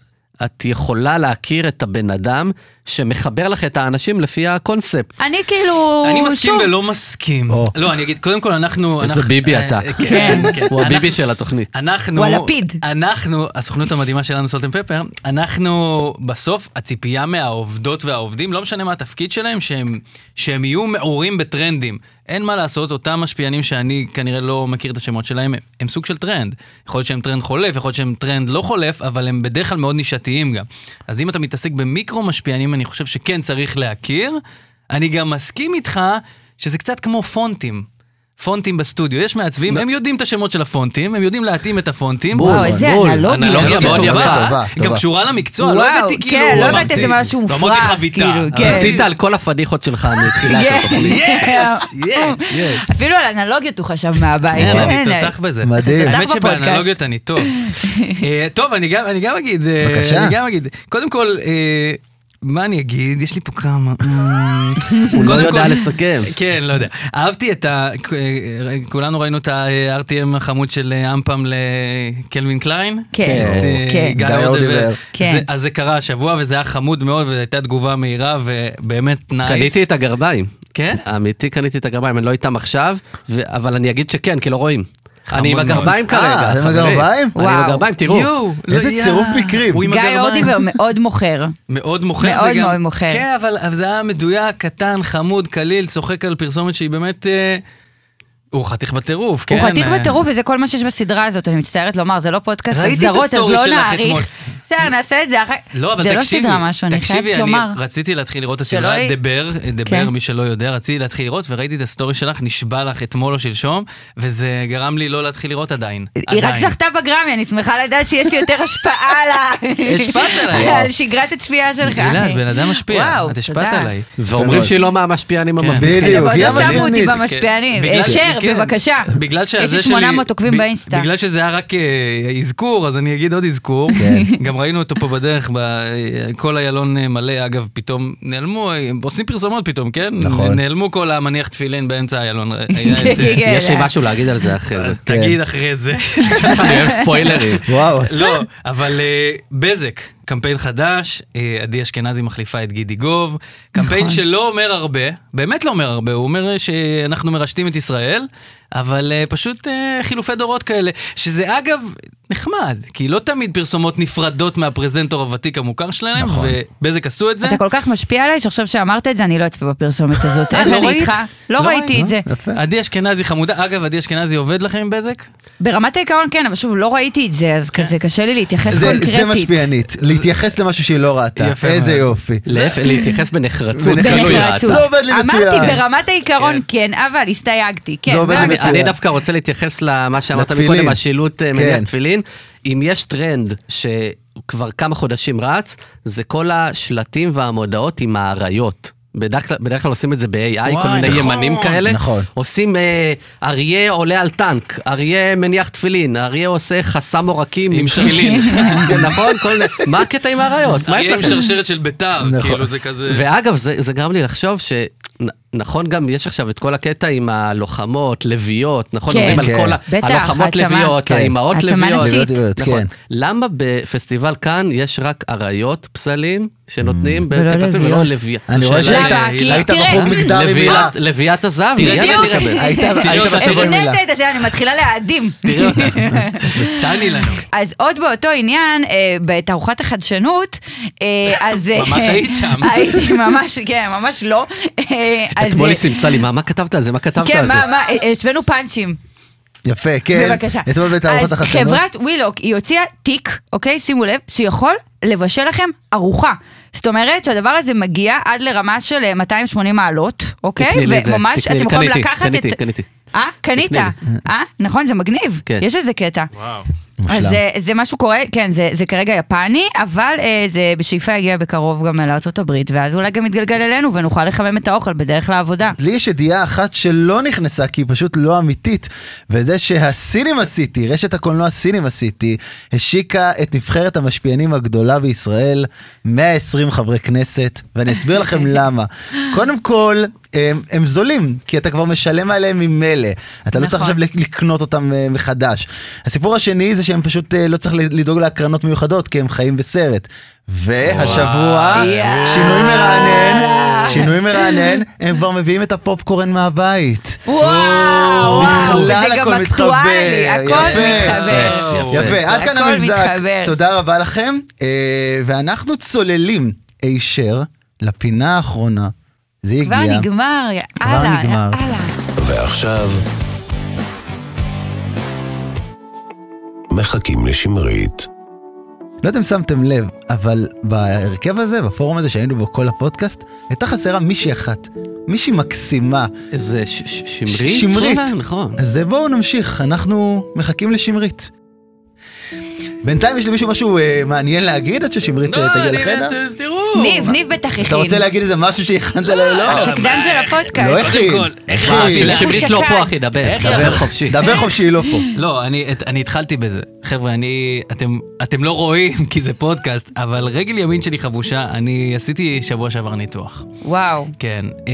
Speaker 5: את יכולה להכיר את הבן אדם שמחבר לך את האנשים לפי הקונספט.
Speaker 1: אני כאילו,
Speaker 5: לא,
Speaker 2: אני מסכים
Speaker 1: שוב,
Speaker 2: ולא מסכים.
Speaker 3: או.
Speaker 2: לא, אני אגיד, קודם כל אנחנו...
Speaker 5: איזה
Speaker 2: אנחנו-
Speaker 5: ביבי
Speaker 2: אה,
Speaker 5: אתה.
Speaker 2: אה, כן, כן.
Speaker 5: הוא הביבי
Speaker 2: אנחנו-
Speaker 5: של התוכנית.
Speaker 2: אנחנו,
Speaker 1: הוא הלפיד.
Speaker 2: אנחנו, הסוכנות המדהימה שלנו, סולטן פפר, אנחנו בסוף, הציפייה מהעובדות והעובדים, לא משנה מה התפקיד שלהם, שהם, שהם יהיו מעורים בטרנדים. אין מה לעשות, אותם משפיענים שאני כנראה לא מכיר את השמות שלהם, הם, הם סוג של טרנד. יכול להיות שהם טרנד חולף, יכול להיות שהם טרנד לא חולף, אבל הם בדרך כלל מאוד נישתיים גם. אז אם אתה מתעסק במיקרו משפיענים, אני חושב שכן צריך להכיר. אני גם מסכים איתך שזה קצת כמו פונטים. פונטים בסטודיו, יש מעצבים, הם יודעים את השמות של הפונטים, הם יודעים להתאים את הפונטים.
Speaker 1: וואו, איזה
Speaker 5: בול. אוקיי,
Speaker 1: אנלוגיה.
Speaker 2: אנלוגיה מאוד
Speaker 3: טובה,
Speaker 2: יפה,
Speaker 3: טובה,
Speaker 2: גם
Speaker 3: טובה.
Speaker 2: קשורה למקצוע, לא
Speaker 1: וואו,
Speaker 2: הבאתי כאילו,
Speaker 1: כן, לא הבאת
Speaker 2: אמרתי.
Speaker 1: איזה משהו
Speaker 2: לא אמרתי
Speaker 1: מופרך,
Speaker 2: חביתה.
Speaker 1: כאילו, כן.
Speaker 5: רצית על כל הפדיחות שלך מתחילת
Speaker 1: כן.
Speaker 5: התוכנית.
Speaker 2: יס, יס.
Speaker 1: אפילו על אנלוגיות הוא חשב מהבית.
Speaker 2: כן, אני
Speaker 1: אין, אה,
Speaker 2: תותח בזה.
Speaker 3: מדהים.
Speaker 2: האמת
Speaker 1: תותח בפודקאסט.
Speaker 2: שבאנלוגיות אני טוב. אה, טוב, אני גם אני גם אגיד, אה,
Speaker 3: בבקשה.
Speaker 2: אני גם אגיד, קודם כל, אה, מה אני אגיד? יש לי פה כמה. אה,
Speaker 5: הוא לא
Speaker 2: קודם
Speaker 5: יודע
Speaker 2: כל-
Speaker 5: לסכם.
Speaker 2: כן, לא יודע. אהבתי את ה... אה, כולנו ראינו את ה-RTM החמוד של אה, אמפם לקלווין קליין.
Speaker 1: כן,
Speaker 2: את, אה,
Speaker 1: כן.
Speaker 2: גיא
Speaker 3: גיא
Speaker 2: אודיבר.
Speaker 3: אודיבר.
Speaker 1: כן.
Speaker 2: זה- אז זה קרה השבוע וזה היה חמוד מאוד וזו הייתה תגובה מהירה ובאמת נייס.
Speaker 5: קניתי את הגרביים.
Speaker 2: כן?
Speaker 5: אמיתי קניתי את הגרביים, אני לא איתם עכשיו, ו- אבל אני אגיד שכן, כי לא רואים. אני עם
Speaker 2: מאוד.
Speaker 5: הגרביים
Speaker 3: אה,
Speaker 5: כרגע,
Speaker 3: אתם עם
Speaker 5: חברים.
Speaker 3: הגרביים?
Speaker 5: אני עם
Speaker 1: וואו.
Speaker 5: הגרביים, תראו.
Speaker 2: יואו, לא,
Speaker 3: איזה
Speaker 2: יא.
Speaker 3: צירוף מקרים.
Speaker 2: הוא עם
Speaker 1: גיא
Speaker 2: הגרביים.
Speaker 1: אורדיבר מאוד מוכר.
Speaker 2: מאוד מוכר.
Speaker 1: מאוד
Speaker 2: וגם-
Speaker 1: מאוד מוכר.
Speaker 2: כן, אבל אבל זה היה מדויק, קטן, חמוד, קליל, צוחק על פרסומת שהיא באמת... אה, הוא חתיך בטירוף, כן?
Speaker 1: הוא חתיך
Speaker 2: אה,
Speaker 1: בטירוף וזה כל מה שיש בסדרה הזאת, אני מצטערת לומר, זה לא פודקאסט
Speaker 2: ראיתי את
Speaker 1: הסדרות, אז
Speaker 2: הסטורי
Speaker 1: לא
Speaker 2: שלך אתמול.
Speaker 1: נעריך. בסדר, נעשה את זה אחר
Speaker 2: לא, אבל
Speaker 1: זה לא
Speaker 2: תקשיבי,
Speaker 1: סדרה משהו, אני
Speaker 2: תקשיבי,
Speaker 1: חייבת
Speaker 2: אני
Speaker 1: לומר.
Speaker 2: רציתי להתחיל לראות את הסדרה,
Speaker 1: שלא י-
Speaker 2: דבר, דבר,
Speaker 1: כן.
Speaker 2: מי שלא יודע, רציתי להתחיל לראות, וראיתי את הסטורי שלך, נשבע לך אתמול או שלשום, וזה גרם לי לא להתחיל לראות עדיין.
Speaker 1: היא רק
Speaker 2: עדיין.
Speaker 1: זכתה בגרמי, אני שמחה לדעת שיש לי יותר השפעה על ה-
Speaker 2: השפעת עליי.
Speaker 1: על שגרת הצפייה שלך.
Speaker 2: הילה, את בן אדם משפיע,
Speaker 1: וואו,
Speaker 2: את השפעת
Speaker 1: תודה.
Speaker 2: עליי.
Speaker 5: ואומרים שהיא לא מהמשפיענים
Speaker 2: כן.
Speaker 5: המבטיחים.
Speaker 3: בדיוק,
Speaker 1: אבל
Speaker 3: היא
Speaker 1: לא שמו אותי
Speaker 3: המשפיענית.
Speaker 1: במשפיענים.
Speaker 2: בגלל-
Speaker 1: אה, שר,
Speaker 2: כן.
Speaker 1: בבקשה.
Speaker 2: בגלל שזה
Speaker 1: יש לי
Speaker 2: שלי-
Speaker 1: 800 עוקבים
Speaker 2: ב-
Speaker 1: באינסטה.
Speaker 2: בגלל שזה היה רק אה, אזכור, אז אני אגיד עוד אזכור. גם ראינו אותו פה בדרך, ב- אה, כל איילון אה, מלא, אגב, פתאום נעלמו, אה, הם עושים פרסומות פתאום, כן?
Speaker 3: נכון.
Speaker 2: נעלמו כל המניח תפילין באמצע איילון. היה את, אה,
Speaker 1: כן,
Speaker 5: יש לי
Speaker 1: כן.
Speaker 5: משהו להגיד על זה אחרי זה.
Speaker 2: תגיד אחרי זה.
Speaker 5: אני אוהב ספוילרים.
Speaker 3: וואו,
Speaker 2: לא,
Speaker 5: אוקיי.
Speaker 2: אבל אה, בזק, קמפיין חדש, אה, עדי אשכנזי מחליפה את גידי גוב, קמפיין
Speaker 5: נכון.
Speaker 2: שלא אומר הרבה, באמת לא אומר הרבה, הוא אומר אה, שאנחנו מרשתים את ישראל, אבל אה, פשוט אה, חילופי דורות כאלה, שזה אגב... נחמד, כי לא תמיד פרסומות נפרדות מהפרזנטור הוותיק המוכר שלהם,
Speaker 3: נכון.
Speaker 2: ובזק עשו את זה.
Speaker 1: אתה כל כך משפיע עליי שעכשיו שאמרת את זה, אני לא אצפה בפרסומת הזאת. איך
Speaker 2: לא
Speaker 1: אני
Speaker 2: ראית?
Speaker 1: איתך? לא
Speaker 2: לא
Speaker 1: ראיתי
Speaker 2: ראית,
Speaker 1: את זה.
Speaker 3: יפה.
Speaker 2: עדי אשכנזי חמודה, אגב, עדי אשכנזי עובד לכם עם בזק?
Speaker 1: ברמת העיקרון כן, אבל שוב, לא ראיתי את זה, אז כזה קשה לי להתייחס
Speaker 3: זה,
Speaker 1: קונקרטית.
Speaker 3: זה משפיענית, להתייחס למשהו שהיא לא ראתה,
Speaker 2: יפה
Speaker 3: איזה
Speaker 2: מאוד.
Speaker 3: יופי.
Speaker 5: להפך, להתייחס בנחרצות.
Speaker 3: בנחרצות.
Speaker 5: כאילו,
Speaker 1: בנחרצות.
Speaker 3: זה עובד לי מצוין.
Speaker 1: אמרתי ברמת העיקרון כן, אבל הסתייגתי. כן,
Speaker 3: זה עובד
Speaker 1: אבל-
Speaker 3: לי
Speaker 5: אני-
Speaker 3: מצוין.
Speaker 5: אני דווקא רוצה להתייחס למה שאמרת
Speaker 3: לתפילין.
Speaker 5: מקודם, השילוט אה, מניח
Speaker 3: כן.
Speaker 5: תפילין. אם יש טרנד שכבר כמה חודשים רץ, זה כל השלטים והמודעות עם האריות. בדרך כלל, בדרך כלל עושים את זה ב-AI, כל
Speaker 2: וואי,
Speaker 5: מיני
Speaker 2: נכון.
Speaker 5: ימנים כאלה.
Speaker 3: נכון.
Speaker 5: עושים אה, אריה עולה על טנק, אריה מניח תפילין, אריה עושה חסם עורקים
Speaker 2: עם תפילין.
Speaker 5: כן, נכון? כל... מה הקטע עם האריות? מה יש
Speaker 2: אריה עם
Speaker 5: לכם?
Speaker 2: שרשרת של ביתר,
Speaker 3: נכון.
Speaker 2: כאילו זה כזה...
Speaker 5: ואגב, זה, זה גרם לי לחשוב ש... נ- נכון גם, יש עכשיו את כל הקטע עם הלוחמות, לביאות, נכון?
Speaker 1: כן.
Speaker 5: מדברים
Speaker 3: כן.
Speaker 5: על כל ה-
Speaker 1: בטח,
Speaker 5: הלוחמות
Speaker 1: העצמה.
Speaker 5: לביאות,
Speaker 1: כן.
Speaker 5: האימהות
Speaker 1: העצמה
Speaker 5: לביאות.
Speaker 1: נשית.
Speaker 3: לביאות,
Speaker 5: נכון.
Speaker 3: כן.
Speaker 5: למה בפסטיבל כאן יש רק אריות פסלים שנותנים
Speaker 1: ולא
Speaker 5: בטקסים ולא
Speaker 1: לביאות.
Speaker 5: לביאה?
Speaker 3: אני רואה
Speaker 2: השאלה
Speaker 1: למה?
Speaker 2: היא-
Speaker 1: כי
Speaker 3: שהיית
Speaker 1: תראה,
Speaker 3: בחור מגדר ממילה.
Speaker 5: לביאת- לביאת הזהב, מיד
Speaker 2: תראה,
Speaker 5: אני
Speaker 1: בדיוק.
Speaker 5: מקבל.
Speaker 3: היית
Speaker 2: תראה
Speaker 3: היית
Speaker 2: אותה
Speaker 3: בשבוע עם מילה.
Speaker 1: הבנית את זה, אני מתחילה להאדים.
Speaker 2: תראה אותה, תעני לנו.
Speaker 1: אז עוד באותו עניין, אה, בתערוכת החדשנות, אה, אז... אה,
Speaker 2: ממש היית שם.
Speaker 1: הייתי ממש, כן, ממש לא. אה, אז,
Speaker 5: אתמול
Speaker 1: אה,
Speaker 5: היא סימסה לי, "מה- מה כתבת על זה? מה כתבת
Speaker 1: כן,
Speaker 5: על זה?
Speaker 1: מה, מה, אה, השווינו פאנצ'ים.
Speaker 3: יפה, כן.
Speaker 1: בבקשה.
Speaker 3: אתמול בתערוכת
Speaker 1: אז
Speaker 3: החדשנות.
Speaker 1: חברת ווילוק, היא הוציאה תיק, אוקיי? שימו לב, שיכול לבשל לכם ארוחה. זאת אומרת שהדבר הזה מגיע עד לרמה של אה, 280 מעלות, אוקיי?
Speaker 5: תקני לי את זה,
Speaker 1: וממש
Speaker 5: תקני לי,
Speaker 1: אתם יכולים
Speaker 5: קניתי,
Speaker 1: לקחת
Speaker 5: קניתי,
Speaker 1: את...
Speaker 5: קניתי.
Speaker 1: אה, קנית.
Speaker 5: תקני
Speaker 1: אה, נכון, זה מגניב.
Speaker 5: כן.
Speaker 1: יש איזה קטע.
Speaker 2: וואו.
Speaker 3: מושלם.
Speaker 1: אז זה, זה משהו קורה, כן, זה, זה כרגע יפני, אבל אה, זה בשאיפה יגיע בקרוב גם לארה"ב, ואז אולי גם יתגלגל אלינו ונוכל לחמם את האוכל בדרך לעבודה.
Speaker 3: לי יש ידיעה אחת שלא נכנסה כי היא פשוט לא אמיתית, וזה שהסינימה סיטי, רשת הקולנוע סינימה סיטי, השיקה את נבחרת המשפיענים הגדולה בישראל, 120 חברי כנסת, ואני אסביר לכם למה. קודם כל, הם, הם זולים, כי אתה כבר משלם עליהם ממילא. אתה לא צריך
Speaker 1: נכון.
Speaker 3: עכשיו לקנות אותם אה, מחדש. הסיפור השני זה שהם פשוט אה, לא צריך לדאוג להקרנות מיוחדות, כי הם חיים בסרט. והשבוע,
Speaker 1: יואו.
Speaker 3: אה, שינוי מרענן, שינוי מרענן, הם כבר מביאים את הפופקורן מהבית.
Speaker 1: וואו, אה, וואו,
Speaker 3: בכלל
Speaker 1: זה גם
Speaker 3: הכל
Speaker 1: אקטואלי,
Speaker 3: מתחבר.
Speaker 1: הכל
Speaker 3: יפה,
Speaker 1: מתחבר.
Speaker 2: יפה.
Speaker 3: יפה, עד כאן
Speaker 1: הכל
Speaker 3: המבזק.
Speaker 1: מתחבר.
Speaker 3: תודה רבה לכם, אה, ואנחנו צוללים הישר לפינה האחרונה. זה
Speaker 1: כבר
Speaker 3: הגיע.
Speaker 1: נגמר,
Speaker 3: כבר
Speaker 1: יאללה,
Speaker 3: נגמר.
Speaker 1: יאללה.
Speaker 4: ועכשיו... מחכים לשמרית.
Speaker 3: לא יודע אם שמתם לב, אבל בהרכב הזה, בפורום הזה שהיינו בו כל הפודקאסט, הייתה חסרה מישהי אחת. מישהי מקסימה.
Speaker 5: איזה ש- ש- שמרית?
Speaker 3: שמרית.
Speaker 5: אולי? נכון.
Speaker 3: אז אה, בואו נמשיך, אנחנו מחכים לשמרית. בינתיים יש למישהו משהו אה, מעניין להגיד עד ששמרית אה,
Speaker 2: לא,
Speaker 3: תגיע
Speaker 2: אני- אה,
Speaker 3: לחדר?
Speaker 2: ת- תראו.
Speaker 1: ניב, ניב בטח
Speaker 3: אתה
Speaker 1: הכין.
Speaker 3: רוצה להגיד איזה משהו שהכנת לה? לא.
Speaker 1: השקדן של
Speaker 3: לא
Speaker 1: הפודקאסט.
Speaker 3: הכין.
Speaker 2: קודם כל, איך
Speaker 3: מה,
Speaker 2: היא
Speaker 3: של-
Speaker 2: הכינה?
Speaker 5: שמרית לא
Speaker 1: שקד.
Speaker 5: פה, אחי, דבר,
Speaker 2: איך
Speaker 5: דבר
Speaker 2: ידעת?
Speaker 5: חופשי.
Speaker 3: דבר חופשי, היא לא פה.
Speaker 2: לא, אני, את- אני התחלתי בזה. חבר'ה, אני, אתם, אתם לא רואים כי זה פודקאסט, אבל רגל ימין שלי חבושה, אני עשיתי שבוע שעבר ניתוח.
Speaker 1: וואו.
Speaker 2: כן, אה,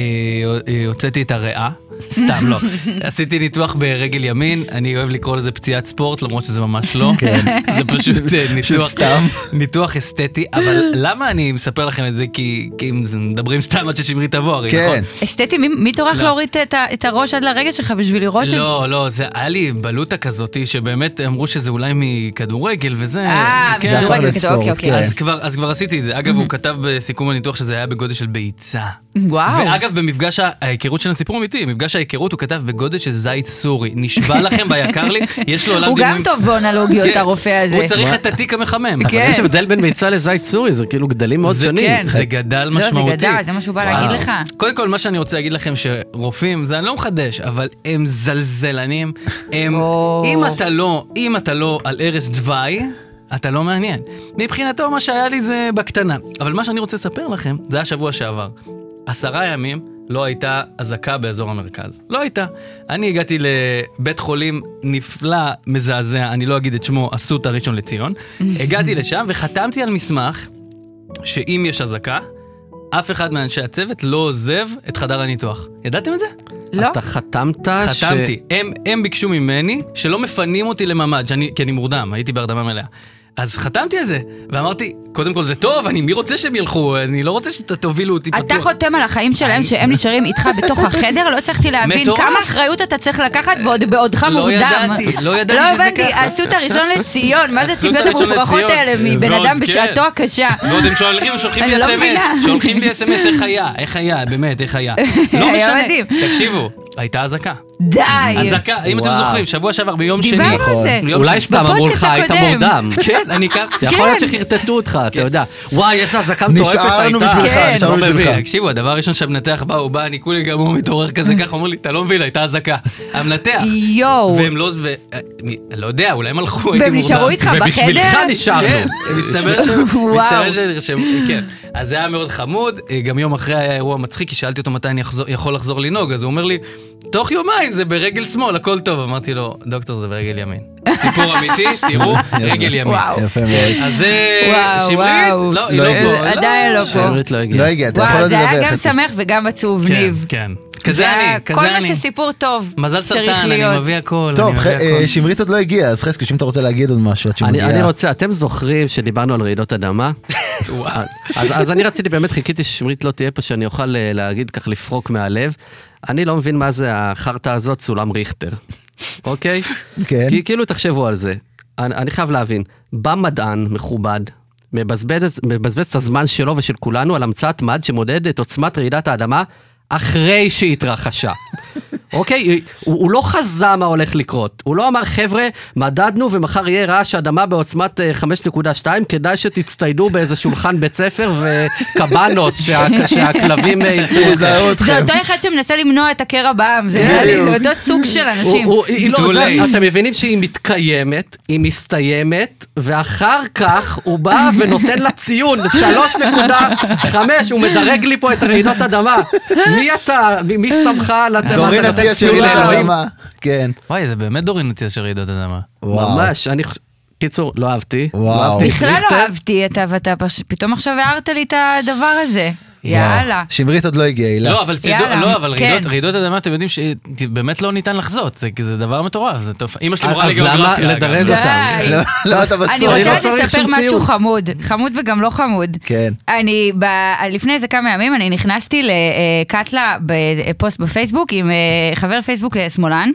Speaker 2: אה, הוצאתי את הריאה, סתם לא. עשיתי ניתוח ברגל ימין, אני אוהב לקרוא לזה פציעת ספורט, למרות שזה ממש לא.
Speaker 3: כן.
Speaker 2: זה פשוט אה, ניתוח,
Speaker 3: סתם.
Speaker 2: ניתוח אסתטי, אבל למה אני מספר לכם את זה? כי, כי אם זה- מדברים סתם עד ששמרי תבוא, הרי נכון?
Speaker 3: כן.
Speaker 1: אסתטי, מי- מי טורח
Speaker 2: לא.
Speaker 1: להוריד את ה- את הראש עד לרגל שלך בשביל לראות את זה?
Speaker 2: לא, לא, זה היה לי בלוטה כזאתי, שבאמת אמרו שזה אולי מכדורגל וזה.
Speaker 1: אה,
Speaker 2: כן.
Speaker 3: זה הפך
Speaker 1: מדורגל
Speaker 3: להיות
Speaker 1: כזה,
Speaker 3: ספורט,
Speaker 1: אוקיי, אוקיי.
Speaker 3: כן.
Speaker 2: אז כבר, אז כבר עשיתי את זה. אגב, הוא כתב בסיכום הניתוח שזה היה בגודל של ביצה.
Speaker 1: וואו.
Speaker 2: ואגב, במפגש ההיכרות שלנו, סיפור אמיתי, במפגש ההיכרות הוא כתב בגודל של זית סורי. נשבע לכם ביקר לי, יש לו עולם
Speaker 1: הוא גם
Speaker 2: דימויים-
Speaker 1: טוב באונלוגיות,
Speaker 2: כן.
Speaker 1: הרופא
Speaker 2: הוא
Speaker 1: הזה.
Speaker 2: צריך את התיק המחמם.
Speaker 5: אבל
Speaker 1: כן.
Speaker 5: יש הבדל בין ביצה לזית סורי, זה כאילו גדלים מאוד
Speaker 2: זה-
Speaker 5: שונים.
Speaker 1: כן.
Speaker 2: זה גדל
Speaker 1: זה
Speaker 2: משמעותי.
Speaker 1: גדל, זה מה שהוא בא
Speaker 2: וואו.
Speaker 1: להגיד לך.
Speaker 2: קודם כל, מה שאני רוצה להגיד לכם, שרופאים, זה אני לא מחדש, אבל הם זלזלנים. הם,
Speaker 1: או.
Speaker 2: אם אתה לא, אם אתה לא על ערש דווי, אתה לא מעניין. מבחינתו, מה שהיה לי זה בקטנה. אבל מה שאני רוצה לספר לכם, זה היה שבוע שעבר. עשרה ימים לא הייתה אזעקה באזור המרכז. לא הייתה. אני הגעתי לבית חולים נפלא, מזעזע, אני לא אגיד את שמו, אסותא ראשון לציון. הגעתי לשם וחתמתי על מסמך שאם יש אזעקה, אף אחד מאנשי הצוות לא עוזב את חדר הניתוח. ידעתם את זה?
Speaker 1: לא?
Speaker 5: אתה חתמת
Speaker 1: אה,
Speaker 5: ש...
Speaker 2: חתמתי. הם, הם ביקשו ממני שלא מפנים אותי לממ"ד, שאני, כי אני מורדם, הייתי בהרדמה מלאה. אז חתמתי על זה, ואמרתי, קודם כל זה טוב, אני, מי רוצה שהם ילכו? אני לא רוצה שתובילו אותי
Speaker 1: אתה
Speaker 2: פתוח.
Speaker 1: חותם על החיים שלהם שהם נשארים איתך בתוך החדר? לא הצלחתי להבין
Speaker 2: מטורף.
Speaker 1: כמה אחריות אתה צריך לקחת ועוד בעודך
Speaker 2: לא
Speaker 1: מוקדם.
Speaker 2: ידעתי, לא ידעתי
Speaker 1: לא
Speaker 2: שזה
Speaker 1: הבנתי,
Speaker 2: ככה.
Speaker 1: הסוט הראשון לציון, מה זה
Speaker 2: הסוט
Speaker 1: הסיבות
Speaker 2: הראשון
Speaker 1: המופרכות
Speaker 2: לציון.
Speaker 1: האלה מבן
Speaker 2: ועוד,
Speaker 1: אדם
Speaker 2: כן.
Speaker 1: בשעתו הקשה?
Speaker 2: ועוד הם שולחים, שולחים לי
Speaker 1: אני לא מבינה.
Speaker 2: אס.אם.אס, שולחים לי אס.אם.אס, איך היה, איך היה, באמת, איך היה. לא
Speaker 1: היה
Speaker 2: משנה,
Speaker 1: מדהים.
Speaker 2: תקשיבו, הייתה אזעקה.
Speaker 1: די.
Speaker 2: אזעקה, אם אתם
Speaker 5: וואו.
Speaker 2: זוכרים, שבוע שעבר ביום שני.
Speaker 1: דיברנו על זה.
Speaker 2: יום
Speaker 5: נכון. אולי
Speaker 2: שני.
Speaker 5: סתם אמרו לך,
Speaker 1: בפודקאסט
Speaker 5: היית
Speaker 1: הקודם.
Speaker 5: מורדם.
Speaker 2: כן, אני ככה.
Speaker 5: יכול להיות שחרטטו אותך, אתה יודע. וואי, איזה אזעקה מטורפת הייתה.
Speaker 3: נשארנו בשבילך,
Speaker 1: כן.
Speaker 3: נשארנו
Speaker 2: לא מבין,
Speaker 3: בשבילך.
Speaker 2: תקשיבו, הדבר הראשון שהמנתח בא, הוא בא, אני כולי גמור מתעורר כזה ככה, אומר לי, אתה לא מבין, הייתה אזעקה. המנתח.
Speaker 1: יואו.
Speaker 2: והם לא, זו- אה, אני לא יודע, אולי הם הלכו, הייתי
Speaker 1: והם
Speaker 2: מורדם.
Speaker 1: נשארו איתך
Speaker 5: ובשבילך
Speaker 1: בחדר?
Speaker 5: נשארנו.
Speaker 2: כן, מסתבר שהם,
Speaker 1: וואו.
Speaker 2: מסתבר שנרשמו, כן. אז זה היה מאוד חמוד, אה, גם יום אחרי היה אירוע מצחיק, כי שאלתי אותו מתי אני אחזור- יכול לחזור לנהוג, אז הוא אומר לי, תוך יומיים זה ברגל שמאל, הכל טוב. אמרתי לו, דוקטור זה ברגל ימין. סיפור אמיתי, תראו, רגל ימין. כן,
Speaker 1: וואו.
Speaker 3: יפה מאוד.
Speaker 2: אז זה
Speaker 1: וואו,
Speaker 2: שמרית?
Speaker 1: וואו.
Speaker 2: לא, היא לא
Speaker 3: לא,
Speaker 2: פה.
Speaker 1: עדיין לא פה.
Speaker 5: שמרית לא הגיעה.
Speaker 3: לא הגיע, אתה יכול
Speaker 1: וואו,
Speaker 3: לדבר.
Speaker 1: זה היה גם
Speaker 3: חצי.
Speaker 1: שמח וגם עצוב,
Speaker 2: כן,
Speaker 1: ניב.
Speaker 2: כן. כזה
Speaker 1: זה היה-
Speaker 2: אני,
Speaker 1: כל
Speaker 2: כזה
Speaker 1: מה
Speaker 2: אני.
Speaker 1: שסיפור טוב.
Speaker 2: מזל
Speaker 1: צריך
Speaker 2: סרטן, אני
Speaker 1: להיות.
Speaker 2: מביא הכל.
Speaker 3: טוב,
Speaker 2: אני נכון.
Speaker 3: ח-
Speaker 2: מביא
Speaker 3: אה,
Speaker 2: הכל.
Speaker 3: שמרית עוד לא הגיעה, אז חזקי, אם אתה רוצה להגיד עוד משהו עד שהיא
Speaker 5: אני,
Speaker 3: מגיעה.
Speaker 5: אני רוצה, אתם זוכרים שדיברנו על רעידות אדמה? אז, אז אני רציתי, באמת חיכיתי ששמרית לא תהיה פה, שאני אוכל אה, להגיד כך, לפרוק מהלב. אני לא מבין מה זה החרטא הזאת, סולם ריכטר, אוקיי?
Speaker 3: כן.
Speaker 5: כי כאילו, תחשבו על זה. אני, אני חייב להבין, בא מדען מכובד, מבזבז, מבזבז את הזמן שלו ושל כולנו על המצאת מד שמודד את עוצמת רעידת האדמה אחרי שהיא התרחשה. אוקיי? הוא, הוא לא חזה מה הולך לקרות. הוא לא אמר, חבר'ה, מדדנו ומחר יהיה רעש אדמה בעוצמת אה, 5.2, כדאי שתצטיידו באיזה שולחן בית ספר וקבנוס, שה, שהכלבים אה, ימצאו אתכם.
Speaker 3: תזהו
Speaker 1: זה
Speaker 3: אתכם.
Speaker 1: אותו אחד שמנסה למנוע את הקרע בעם, זה נראה לי
Speaker 3: בדיוק.
Speaker 1: זה אותו סוג של אנשים.
Speaker 5: הוא- הוא- היא לא-
Speaker 2: Too
Speaker 5: זה-
Speaker 2: late.
Speaker 5: אתם מבינים שהיא מתקיימת, היא מסתיימת, ואחר כך הוא בא ונותן לה ציון, 3.5, הוא מדרג לי פה את רעידות אדמה. מי אתה, מי- מי שמך לתת
Speaker 3: דורין אטיאס שירי
Speaker 5: לאלוהים?
Speaker 3: לאדמה. כן.
Speaker 2: וואי, זה באמת דורין אטיאס של רעידות אדמה.
Speaker 3: וואו.
Speaker 5: ממש, אני חוש- קיצור, לא אהבתי. לא
Speaker 3: וואו.
Speaker 5: אהבתי את
Speaker 1: בכלל לא
Speaker 5: ריכטר.
Speaker 1: אהבתי אתה ואתה, פש- פתאום עכשיו הערת לי את הדבר הזה. יאללה.
Speaker 3: שמרית עוד לא הגיעה, הילה.
Speaker 2: לא, אבל תדעו,
Speaker 1: יאללה,
Speaker 2: לא, אבל
Speaker 1: כן.
Speaker 2: רעידות- רעידות אדמה, אתם יודעים שבאמת לא ניתן לחזות, זה- זה דבר מטורף, זה טוב. אמא שלי מורה
Speaker 5: אז למה
Speaker 2: לגיאוגרפיה.
Speaker 5: לדרג
Speaker 2: אגב.
Speaker 5: אותם?
Speaker 1: די.
Speaker 3: לא, לא, אתה
Speaker 1: אני
Speaker 3: בסוף.
Speaker 5: אני לא
Speaker 1: רוצה
Speaker 5: צריך
Speaker 1: לספר
Speaker 5: שום
Speaker 1: משהו
Speaker 5: ציון.
Speaker 1: חמוד, חמוד וגם לא חמוד.
Speaker 3: כן.
Speaker 1: אני, ב... לפני איזה כמה ימים, אני נכנסתי לקטלה בפוסט בפייסבוק עם אה, חבר פייסבוק אה, שמאלן.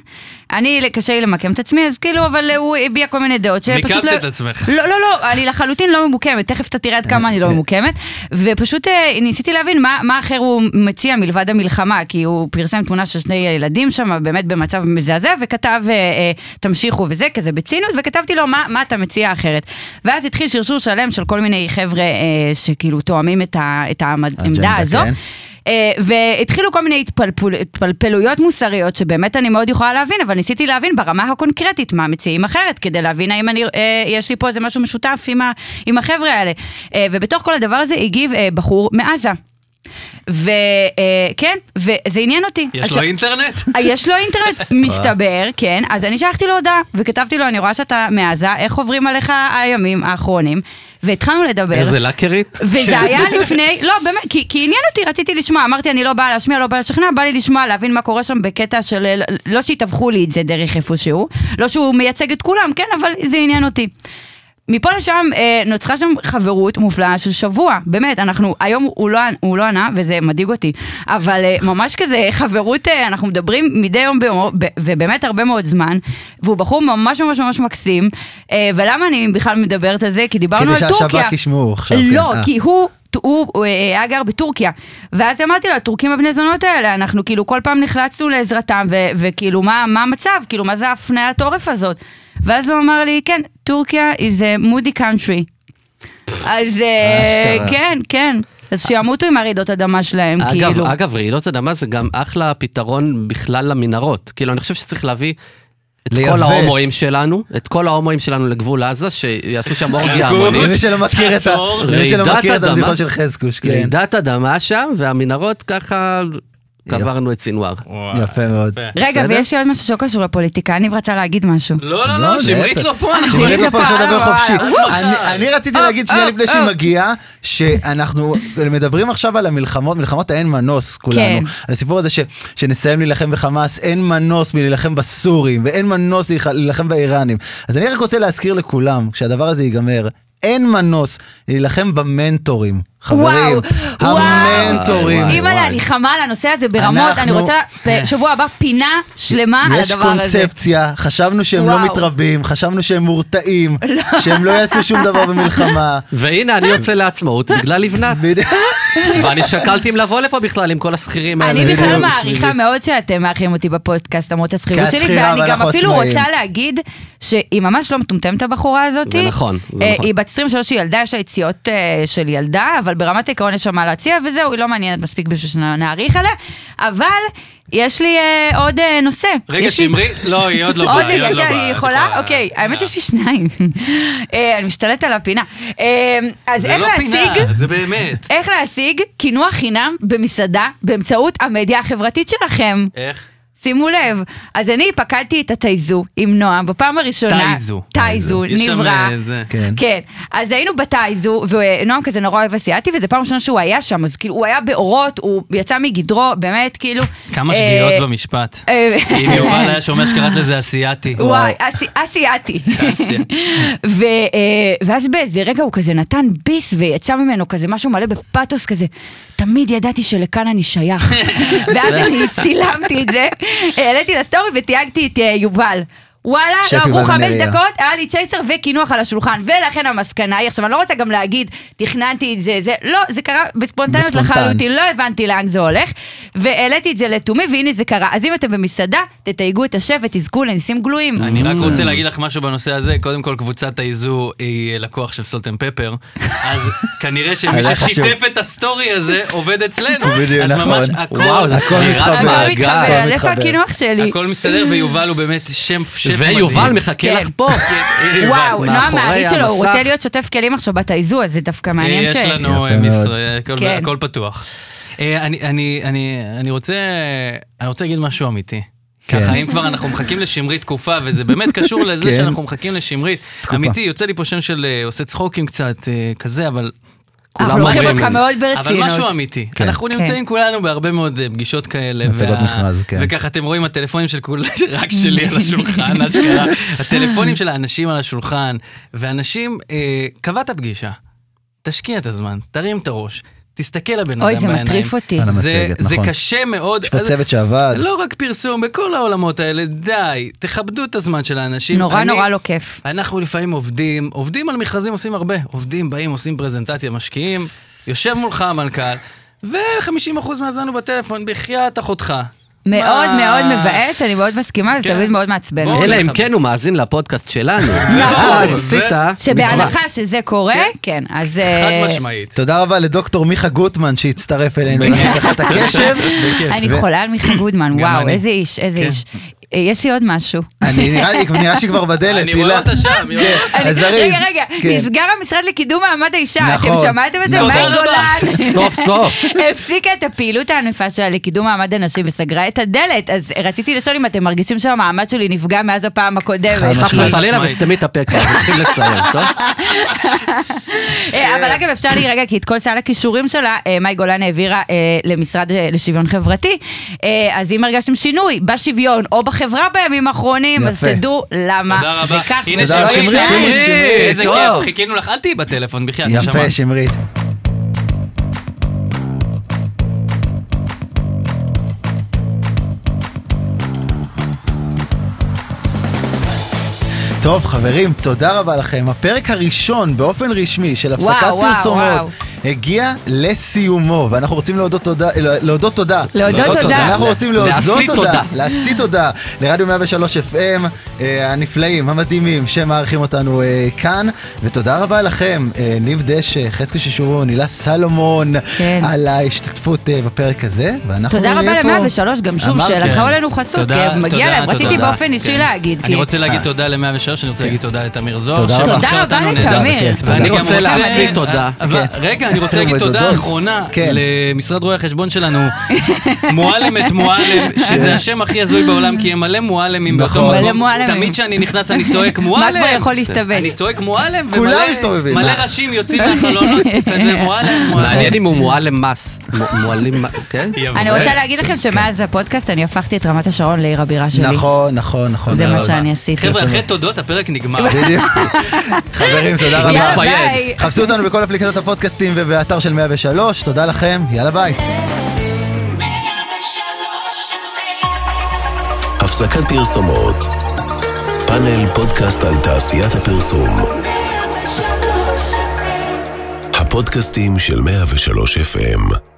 Speaker 1: אני, קשה לי למקם את עצמי, אז כאילו, אבל הוא הביע כל מיני דעות שפשוט לא...
Speaker 2: מיקמת את עצמך.
Speaker 1: לא, לא, לא, אני לחלוטין לא ממוקמת, תכף אתה תראה עד כמה אני לא ממוקמת. ופשוט אה, ניסיתי להבין מה, מה אחר הוא מציע מלבד המלחמה, כי הוא פרסם תמונה של שני ילדים שם, באמת במצב מזעזע, וכתב, אה, אה, תמשיכו וזה, כזה בציניות, וכתבתי לו, מה, מה אתה מציע אחרת? ואז התחיל שרשור שלם של כל מיני חבר'ה אה, שכאילו תואמים את, ה, את העמדה
Speaker 3: האג'נדה,
Speaker 1: הזו.
Speaker 3: כן.
Speaker 1: אה, והתחילו כל מיני התפלפול, התפלפלויות מוסריות שבאמת אני מאוד יכולה להבין, אבל ניסיתי להבין ברמה הקונקרטית מה מציעים אחרת, כדי להבין האם אני, אה, יש לי פה איזה משהו משותף עם, ה, עם החבר'ה האלה. אה, ובתוך כל הדבר הזה הגיב אה, בחור מעזה. וכן, אה, כן, וזה עניין אותי.
Speaker 2: יש
Speaker 1: עכשיו-
Speaker 2: לו אינטרנט?
Speaker 1: אה, יש לו אינטרנט, מסתבר, כן. אז אני שלחתי לו הודעה, וכתבתי לו, אני רואה שאתה מעזה, איך עוברים עליך הימים האחרונים? והתחלנו לדבר.
Speaker 5: איזה לקרית?
Speaker 1: וזה היה לפני, לא באמת, כי, כי עניין אותי, רציתי לשמוע, אמרתי אני לא באה להשמיע, לא באה לשכנע, בא לי לשמוע, להבין מה קורה שם בקטע של, לא שיתווכו לי את זה דרך איפשהו, לא שהוא מייצג את כולם, כן, אבל זה עניין אותי. מפה לשם אה, נוצרה שם חברות מופלאה של שבוע, באמת, אנחנו, היום הוא לא, הוא לא ענה וזה מדאיג אותי, אבל אה, ממש כזה חברות, אה, אנחנו מדברים מדי יום ביומו, ב- ובאמת הרבה מאוד זמן, והוא בחור ממש ממש ממש מקסים, אה, ולמה אני בכלל מדברת על זה? כי דיברנו על
Speaker 3: כדי
Speaker 1: טורקיה.
Speaker 3: שהשב"כ ישמעו עכשיו, כן.
Speaker 1: לא,
Speaker 3: אה.
Speaker 1: כי הוא... הוא הוא, אה, היה גר בטורקיה, ואז אמרתי לו, הטורקים הבני זונות האלה, אנחנו כאילו כל פעם נחלצנו לעזרתם, ו- וכאילו מה, מה המצב, כאילו מה זה ההפניית עורף הזאת? ואז הוא אמר לי, כן, טורקיה is a moody country. אז אה,
Speaker 5: אשכרה.
Speaker 1: כן, כן, אז שימותו עם הרעידות אדמה שלהם,
Speaker 5: אגב,
Speaker 1: כאילו.
Speaker 5: אגב, רעידות אדמה זה גם אחלה פתרון בכלל למנהרות. כאילו, אני חושב שצריך להביא את
Speaker 3: לייבא.
Speaker 5: כל ההומואים שלנו, את כל ההומואים שלנו לגבול עזה, שיעשו שם אורגיה
Speaker 2: יעקוב,
Speaker 5: המונית.
Speaker 3: למי שלא מכיר את ה-
Speaker 2: עצור.
Speaker 3: למי שלא
Speaker 5: רעידת
Speaker 3: מכיר את
Speaker 5: אדמה.
Speaker 3: הבדיחות של חזקוש, כן.
Speaker 5: רעידת אדמה שם, והמנהרות ככה קברנו את סינואר.
Speaker 2: וואי,
Speaker 3: יפה מאוד.
Speaker 1: רגע,
Speaker 3: בסדר?
Speaker 1: ויש לי עוד משהו שלא קשור לפוליטיקה, אני רוצה להגיד משהו.
Speaker 2: לא, לא,
Speaker 3: לא,
Speaker 2: לא, שמרית
Speaker 3: להפך.
Speaker 2: לא פה, אנחנו...
Speaker 1: שמרית
Speaker 3: תראי
Speaker 1: לא
Speaker 3: לפה אפשר
Speaker 1: פעם,
Speaker 3: לדבר
Speaker 1: וואלה.
Speaker 3: חופשי.
Speaker 2: אה,
Speaker 3: אני- אני רציתי להגיד שנייה לפני שהיא מגיעה, שאנחנו מדברים עכשיו על המלחמות, מלחמות האין מנוס כולנו.
Speaker 1: כן.
Speaker 3: על הסיפור הזה ש- שנסיים להילחם בחמאס, אין מנוס מלהילחם בסורים, ואין מנוס להילח- להילחם באיראנים. אז אני רק רוצה להזכיר לכולם, כשהדבר הזה ייגמר, אין מנוס להילחם במנטורים. חברים,
Speaker 1: וואו, וואו.
Speaker 3: המנטורים.
Speaker 5: וואי,
Speaker 1: אימא'לה,
Speaker 5: וואי.
Speaker 1: אני חמה על הנושא הזה ברמות, אני
Speaker 3: אנחנו-
Speaker 1: רוצה בשבוע הבא פינה שלמה על
Speaker 3: יש
Speaker 1: הדבר הזה.
Speaker 3: קונספציה, חשבנו שהם לא
Speaker 1: וואו.
Speaker 3: מתרבים, חשבנו שהם מורתעים, שהם לא יעשו שום דבר במלחמה.
Speaker 5: והנה, אני יוצא לעצמאות בגלל לבנת.
Speaker 3: בדיוק.
Speaker 5: ואני שקלתי אם לבוא לפה בכלל עם כל השכירים האלה.
Speaker 1: אני בכלל
Speaker 5: בדיוק,
Speaker 1: מעריכה
Speaker 5: בשבילי.
Speaker 1: מאוד שאתם מארחים אותי בפודקאסט למרות
Speaker 3: כי
Speaker 1: השכירות
Speaker 3: את
Speaker 1: שלי,
Speaker 3: שכירה
Speaker 1: ואני גם
Speaker 3: ואנחנו
Speaker 1: אפילו
Speaker 3: עצמאים.
Speaker 1: רוצה להגיד שהיא ממש לא מטומטמת הבחורה הזאת.
Speaker 5: זה נכון, זה
Speaker 1: אה,
Speaker 5: נכון.
Speaker 1: היא בת 23, היא ילדה, יש לה יציאות אה, של ילדה, אבל ברמת העיקרון יש שם מה להציע וזהו, היא לא מעניינת מספיק בשביל שנעריך עליה, אבל יש לי אה, עוד אה, נושא.
Speaker 2: רגע,
Speaker 1: יש לי-
Speaker 2: שמרי, לא, היא עוד לא באה,
Speaker 1: עוד
Speaker 2: היא עוד לא
Speaker 1: רגע,
Speaker 2: באה,
Speaker 1: אני
Speaker 2: את
Speaker 1: יכולה?
Speaker 2: יכולה.
Speaker 1: אוקיי, האמת שיש לי שניים. אה, אני משתלטת על הפינה. אה, אז
Speaker 2: זה
Speaker 1: איך
Speaker 2: לא
Speaker 1: להשיג...
Speaker 2: פינה, זה באמת.
Speaker 1: איך להשיג קינוח חינם במסעדה באמצעות המדיה החברתית שלכם.
Speaker 2: איך?
Speaker 1: שימו לב, אז אני פקדתי את הטייזו עם נועם בפעם הראשונה.
Speaker 2: טייזו.
Speaker 1: טייזו,
Speaker 2: יש שם,
Speaker 1: נברא.
Speaker 2: אה, זה.
Speaker 3: כן.
Speaker 1: כן, אז היינו בטייזו, ונועם כזה נורא אוהב אסיאתי, וזה פעם ראשונה שהוא היה שם, אז כאילו הוא היה באורות, הוא יצא מגדרו, באמת, כאילו...
Speaker 2: כמה
Speaker 1: אה,
Speaker 2: שגיאות במשפט.
Speaker 1: אה,
Speaker 2: אם יובל היה שומע שקראת לזה אסיאתי.
Speaker 1: וואי, אסי- אסיאתי. ו- אה, ואז באיזה רגע הוא כזה נתן ביס ויצא ממנו כזה משהו מלא בפאתוס כזה. תמיד ידעתי שלכאן אני שייך. ואז אני צילמתי את זה, העליתי לסטורי ותייגתי את אה, יובל. וואלה,
Speaker 3: שף
Speaker 1: לא עברו
Speaker 3: יובל
Speaker 1: חמש
Speaker 3: בן אריה.
Speaker 1: דקות, היה לי צ'ייסר וקינוח על השולחן, ולכן המסקנה היא, עכשיו אני לא רוצה גם להגיד, תכננתי את זה, זה, לא, זה קרה בספונטניות
Speaker 3: בספונטן.
Speaker 1: לחלוטין, לא הבנתי לאן זה הולך, והעליתי את זה לתומי, והנה זה קרה. אז אם אתם במסעדה, תתייגו את השף ותזכו לניסים גלויים.
Speaker 2: אני רק רוצה להגיד לך משהו בנושא הזה, קודם כל קבוצת האיזו היא לקוח של סולט אנד פפר, אז כנראה שמי
Speaker 3: היה חשוב.
Speaker 2: ששיתף את הסטורי הזה עובד אצלנו,
Speaker 3: בדיוק,
Speaker 2: אז
Speaker 3: נכון.
Speaker 2: ממש הכל,
Speaker 5: וואו, זה
Speaker 3: הכל
Speaker 5: סגירת
Speaker 3: מתחבר.
Speaker 1: הכל
Speaker 5: מעגל.
Speaker 1: לא מתחבר, כאילו. אז
Speaker 3: הכל
Speaker 1: איפה
Speaker 3: מתחבר.
Speaker 1: הקינוח שלי?
Speaker 2: לא הכל מסתדר ויובל הוא באמת שם שף מדהים.
Speaker 5: ויובל מחכה
Speaker 1: כן.
Speaker 5: לך פה.
Speaker 1: וואו,
Speaker 5: מאחורי
Speaker 1: נועם מעריץ שלו, הוא
Speaker 5: המסך.
Speaker 1: רוצה להיות שוטף כלים עכשיו בתאיזו, אז זה דווקא מעניין ש...
Speaker 2: יש לנו
Speaker 3: יפה מאוד.
Speaker 2: אה, מישראל, הכל-
Speaker 1: כן.
Speaker 2: הכל פתוח. אה, אני- אני- אני אני רוצה אני רוצה להגיד משהו אמיתי.
Speaker 3: כן.
Speaker 2: ככה, אם כבר אנחנו מחכים לשמרית תקופה, וזה באמת קשור לזה
Speaker 3: כן.
Speaker 2: שאנחנו מחכים לשמרית. אמיתי, יוצא לי פה שם של אה, עושה צחוקים קצת, אה, כזה, אבל
Speaker 1: אנחנו
Speaker 5: כולם
Speaker 1: לוקחים
Speaker 5: אומרים
Speaker 1: אותך
Speaker 5: לי.
Speaker 1: מאוד
Speaker 2: אבל משהו
Speaker 1: ברצינות.
Speaker 2: אמיתי,
Speaker 3: כן.
Speaker 2: אנחנו נמצאים כולנו בהרבה מאוד אה, פגישות כאלה.
Speaker 3: מצגות מכרז, כן.
Speaker 2: וככה אתם רואים הטלפונים של כולם, רק שלי על השולחן, אשכרה. הטלפונים של האנשים על השולחן, ואנשים, אה, קבעת פגישה, תשקיע את הזמן, תרים את הראש, תסתכל לבן אדם
Speaker 1: אוי,
Speaker 2: בעיניים.
Speaker 1: זה מטריף אותי.
Speaker 3: על
Speaker 2: זה,
Speaker 3: המצגת,
Speaker 2: זה
Speaker 3: נכון.
Speaker 2: קשה מאוד.
Speaker 3: יש פה צוות שעבד.
Speaker 2: לא רק פרסום, בכל העולמות האלה, די, תכבדו את הזמן של האנשים.
Speaker 1: נורא
Speaker 2: אני-
Speaker 1: נורא לא כיף.
Speaker 2: אנחנו לפעמים עובדים, עובדים על מכרזים, עושים הרבה. עובדים, באים, עושים פרזנטציה, משקיעים, יושב מולך המנכ"ל, ו-50% מהזמן הוא בטלפון, בחייאת אחותך.
Speaker 1: מאוד
Speaker 2: מה?
Speaker 1: מאוד מבאס, אני מאוד מסכימה, זה
Speaker 2: כן.
Speaker 1: תמיד מאוד מעצבן.
Speaker 2: בואו.
Speaker 5: אלא אם
Speaker 2: לחבר.
Speaker 5: כן הוא מאזין לפודקאסט שלנו. אה, אז עשית מצווה.
Speaker 1: שבהנחה שזה קורה, כן, אז... אה,
Speaker 2: חד משמעית.
Speaker 3: תודה רבה לדוקטור מיכה גוטמן שהצטרף אלינו, לקח לך את הקשב.
Speaker 1: אני
Speaker 3: ו-
Speaker 1: חולה על מיכה גודמן,
Speaker 2: כן. גם
Speaker 1: וואו,
Speaker 2: אני.
Speaker 1: איזה איש, איזה
Speaker 2: כן.
Speaker 1: איש. אה, יש לי עוד משהו.
Speaker 3: אני נראה לי- נראה שהיא כבר בדלת,
Speaker 2: אני רואה
Speaker 3: הילה.
Speaker 2: אותה שם, יואו.
Speaker 1: אני-
Speaker 3: אז זריז,
Speaker 1: רגע, רגע,
Speaker 3: כן.
Speaker 1: נסגר המשרד לקידום מעמד האישה, אתם
Speaker 3: נכון.
Speaker 1: שמעתם את זה?
Speaker 2: תודה
Speaker 1: מאי
Speaker 2: רבה.
Speaker 1: גולן.
Speaker 5: סוף סוף.
Speaker 1: הפסיקה את הפעילות הענפה שלה לקידום מעמד הנשים וסגרה את הדלת, אז רציתי לשאול אם אתם מרגישים שהמעמד שלי נפגע מאז הפעם
Speaker 3: חד
Speaker 1: הקודמת.
Speaker 3: משמעית.
Speaker 5: חס וחלילה
Speaker 2: משמעית.
Speaker 5: וסתמי את הפה כבר, אנחנו צריכים לסיים, טוב?
Speaker 1: אה, אבל אגב אפשר לי רגע כי את כל סל הכישורים שלה אה, מאי גולן העבירה אה, למשרד אה, לשוויון חברתי אה, אז אם הרגשתם שינוי בשוויון או בחברה בימים האחרונים אז
Speaker 3: יפה.
Speaker 1: תדעו
Speaker 2: תודה
Speaker 1: למה זה
Speaker 2: רבה.
Speaker 1: ככה.
Speaker 2: הנה
Speaker 3: תודה,
Speaker 2: שמרית,
Speaker 3: שמרית,
Speaker 2: שמרית,
Speaker 5: שמרית,
Speaker 2: איזה
Speaker 5: טוב.
Speaker 2: כיף, חיכינו לך, אל תהיי בטלפון, בחייאת, נשמה.
Speaker 3: יפה, שמרית. טוב חברים, תודה רבה לכם. הפרק הראשון באופן רשמי של הפסקת
Speaker 1: וואו, וואו,
Speaker 3: פרסומות
Speaker 1: וואו.
Speaker 3: הגיע לסיומו, ואנחנו רוצים להודות תודה, לא- להודות תודה.
Speaker 1: להודות תודה.
Speaker 3: אנחנו רוצים להודות
Speaker 5: להשיא
Speaker 3: תודה.
Speaker 5: תודה.
Speaker 3: להשיא תודה לרדיו 103 FM אה, הנפלאים, המדהימים, שמארחים אותנו אה, כאן, ותודה רבה לכם, אה, ניב דשא, חזקו ששורון, הילה סלומון,
Speaker 1: כן.
Speaker 3: על ההשתתפות אה, בפרק הזה, ואנחנו
Speaker 1: תודה רבה
Speaker 3: נהיה פה.
Speaker 1: ל-103 גם שוב
Speaker 3: אמרתי.
Speaker 1: שלקחו כן. עלינו חסות,
Speaker 2: כן. תודה,
Speaker 1: כי מגיע
Speaker 2: תודה,
Speaker 1: להם, רציתי
Speaker 2: תודה.
Speaker 1: באופן אישי
Speaker 2: כן.
Speaker 1: להגיד,
Speaker 2: אני
Speaker 1: כי-
Speaker 2: רוצה להגיד תודה ל-103, אני רוצה להגיד כן. תודה לתמיר זוהר.
Speaker 3: תודה רבה.
Speaker 1: תודה
Speaker 2: שמנחה
Speaker 1: רבה
Speaker 2: אותנו
Speaker 1: לתמיר.
Speaker 2: נהדר.
Speaker 3: תודה, כן,
Speaker 2: ואני
Speaker 5: אני
Speaker 2: גם
Speaker 5: רוצה להשיא תודה.
Speaker 2: אבל-
Speaker 3: כן.
Speaker 2: רגע, אני אני רוצה להגיד תודה
Speaker 3: ותודות.
Speaker 2: אחרונה
Speaker 3: כן.
Speaker 2: למשרד רואי החשבון שלנו, מועלם את מועלם, שזה השם הכי הזוי בעולם, כי הם מלא מועלמים באותו
Speaker 3: כן. נכון.
Speaker 1: מלא
Speaker 2: מקום.
Speaker 1: מועלמים.
Speaker 2: תמיד כשאני נכנס אני צועק
Speaker 1: מה
Speaker 2: מועלם.
Speaker 1: כבר יכול להשתבש?
Speaker 2: אני צועק מועלם,
Speaker 3: כולם
Speaker 2: ומלא
Speaker 3: מסתובבים.
Speaker 2: מלא ראשים יוצאים מהחלונות, כזה
Speaker 5: מעניין
Speaker 2: מועלם, מועלם.
Speaker 5: אם הוא מועלם מס. מ- מועלים, מ- כן?
Speaker 2: יפה.
Speaker 1: אני רוצה להגיד לכם שמאז הפודקאסט אני הפכתי את רמת השרון לעיר הבירה שלי.
Speaker 3: נכון, נכון, נכון.
Speaker 1: זה מה
Speaker 3: אבל-
Speaker 1: שאני עשיתי.
Speaker 2: חבר'ה, אחרי תודות הפרק נגמר.
Speaker 3: בדיוק. חברים, תודה
Speaker 5: זה
Speaker 3: רבה.
Speaker 5: יפה. מתפייד.
Speaker 1: ביי.
Speaker 3: חפשו אותנו בכל אפליקציות הפודקאסטים ובאתר של 103, תודה לכם, יאללה ביי.
Speaker 4: הפסקת פרסומות. פאנל פודקאסט על תעשיית הפרסום. הפודקאסטים של 103 FM.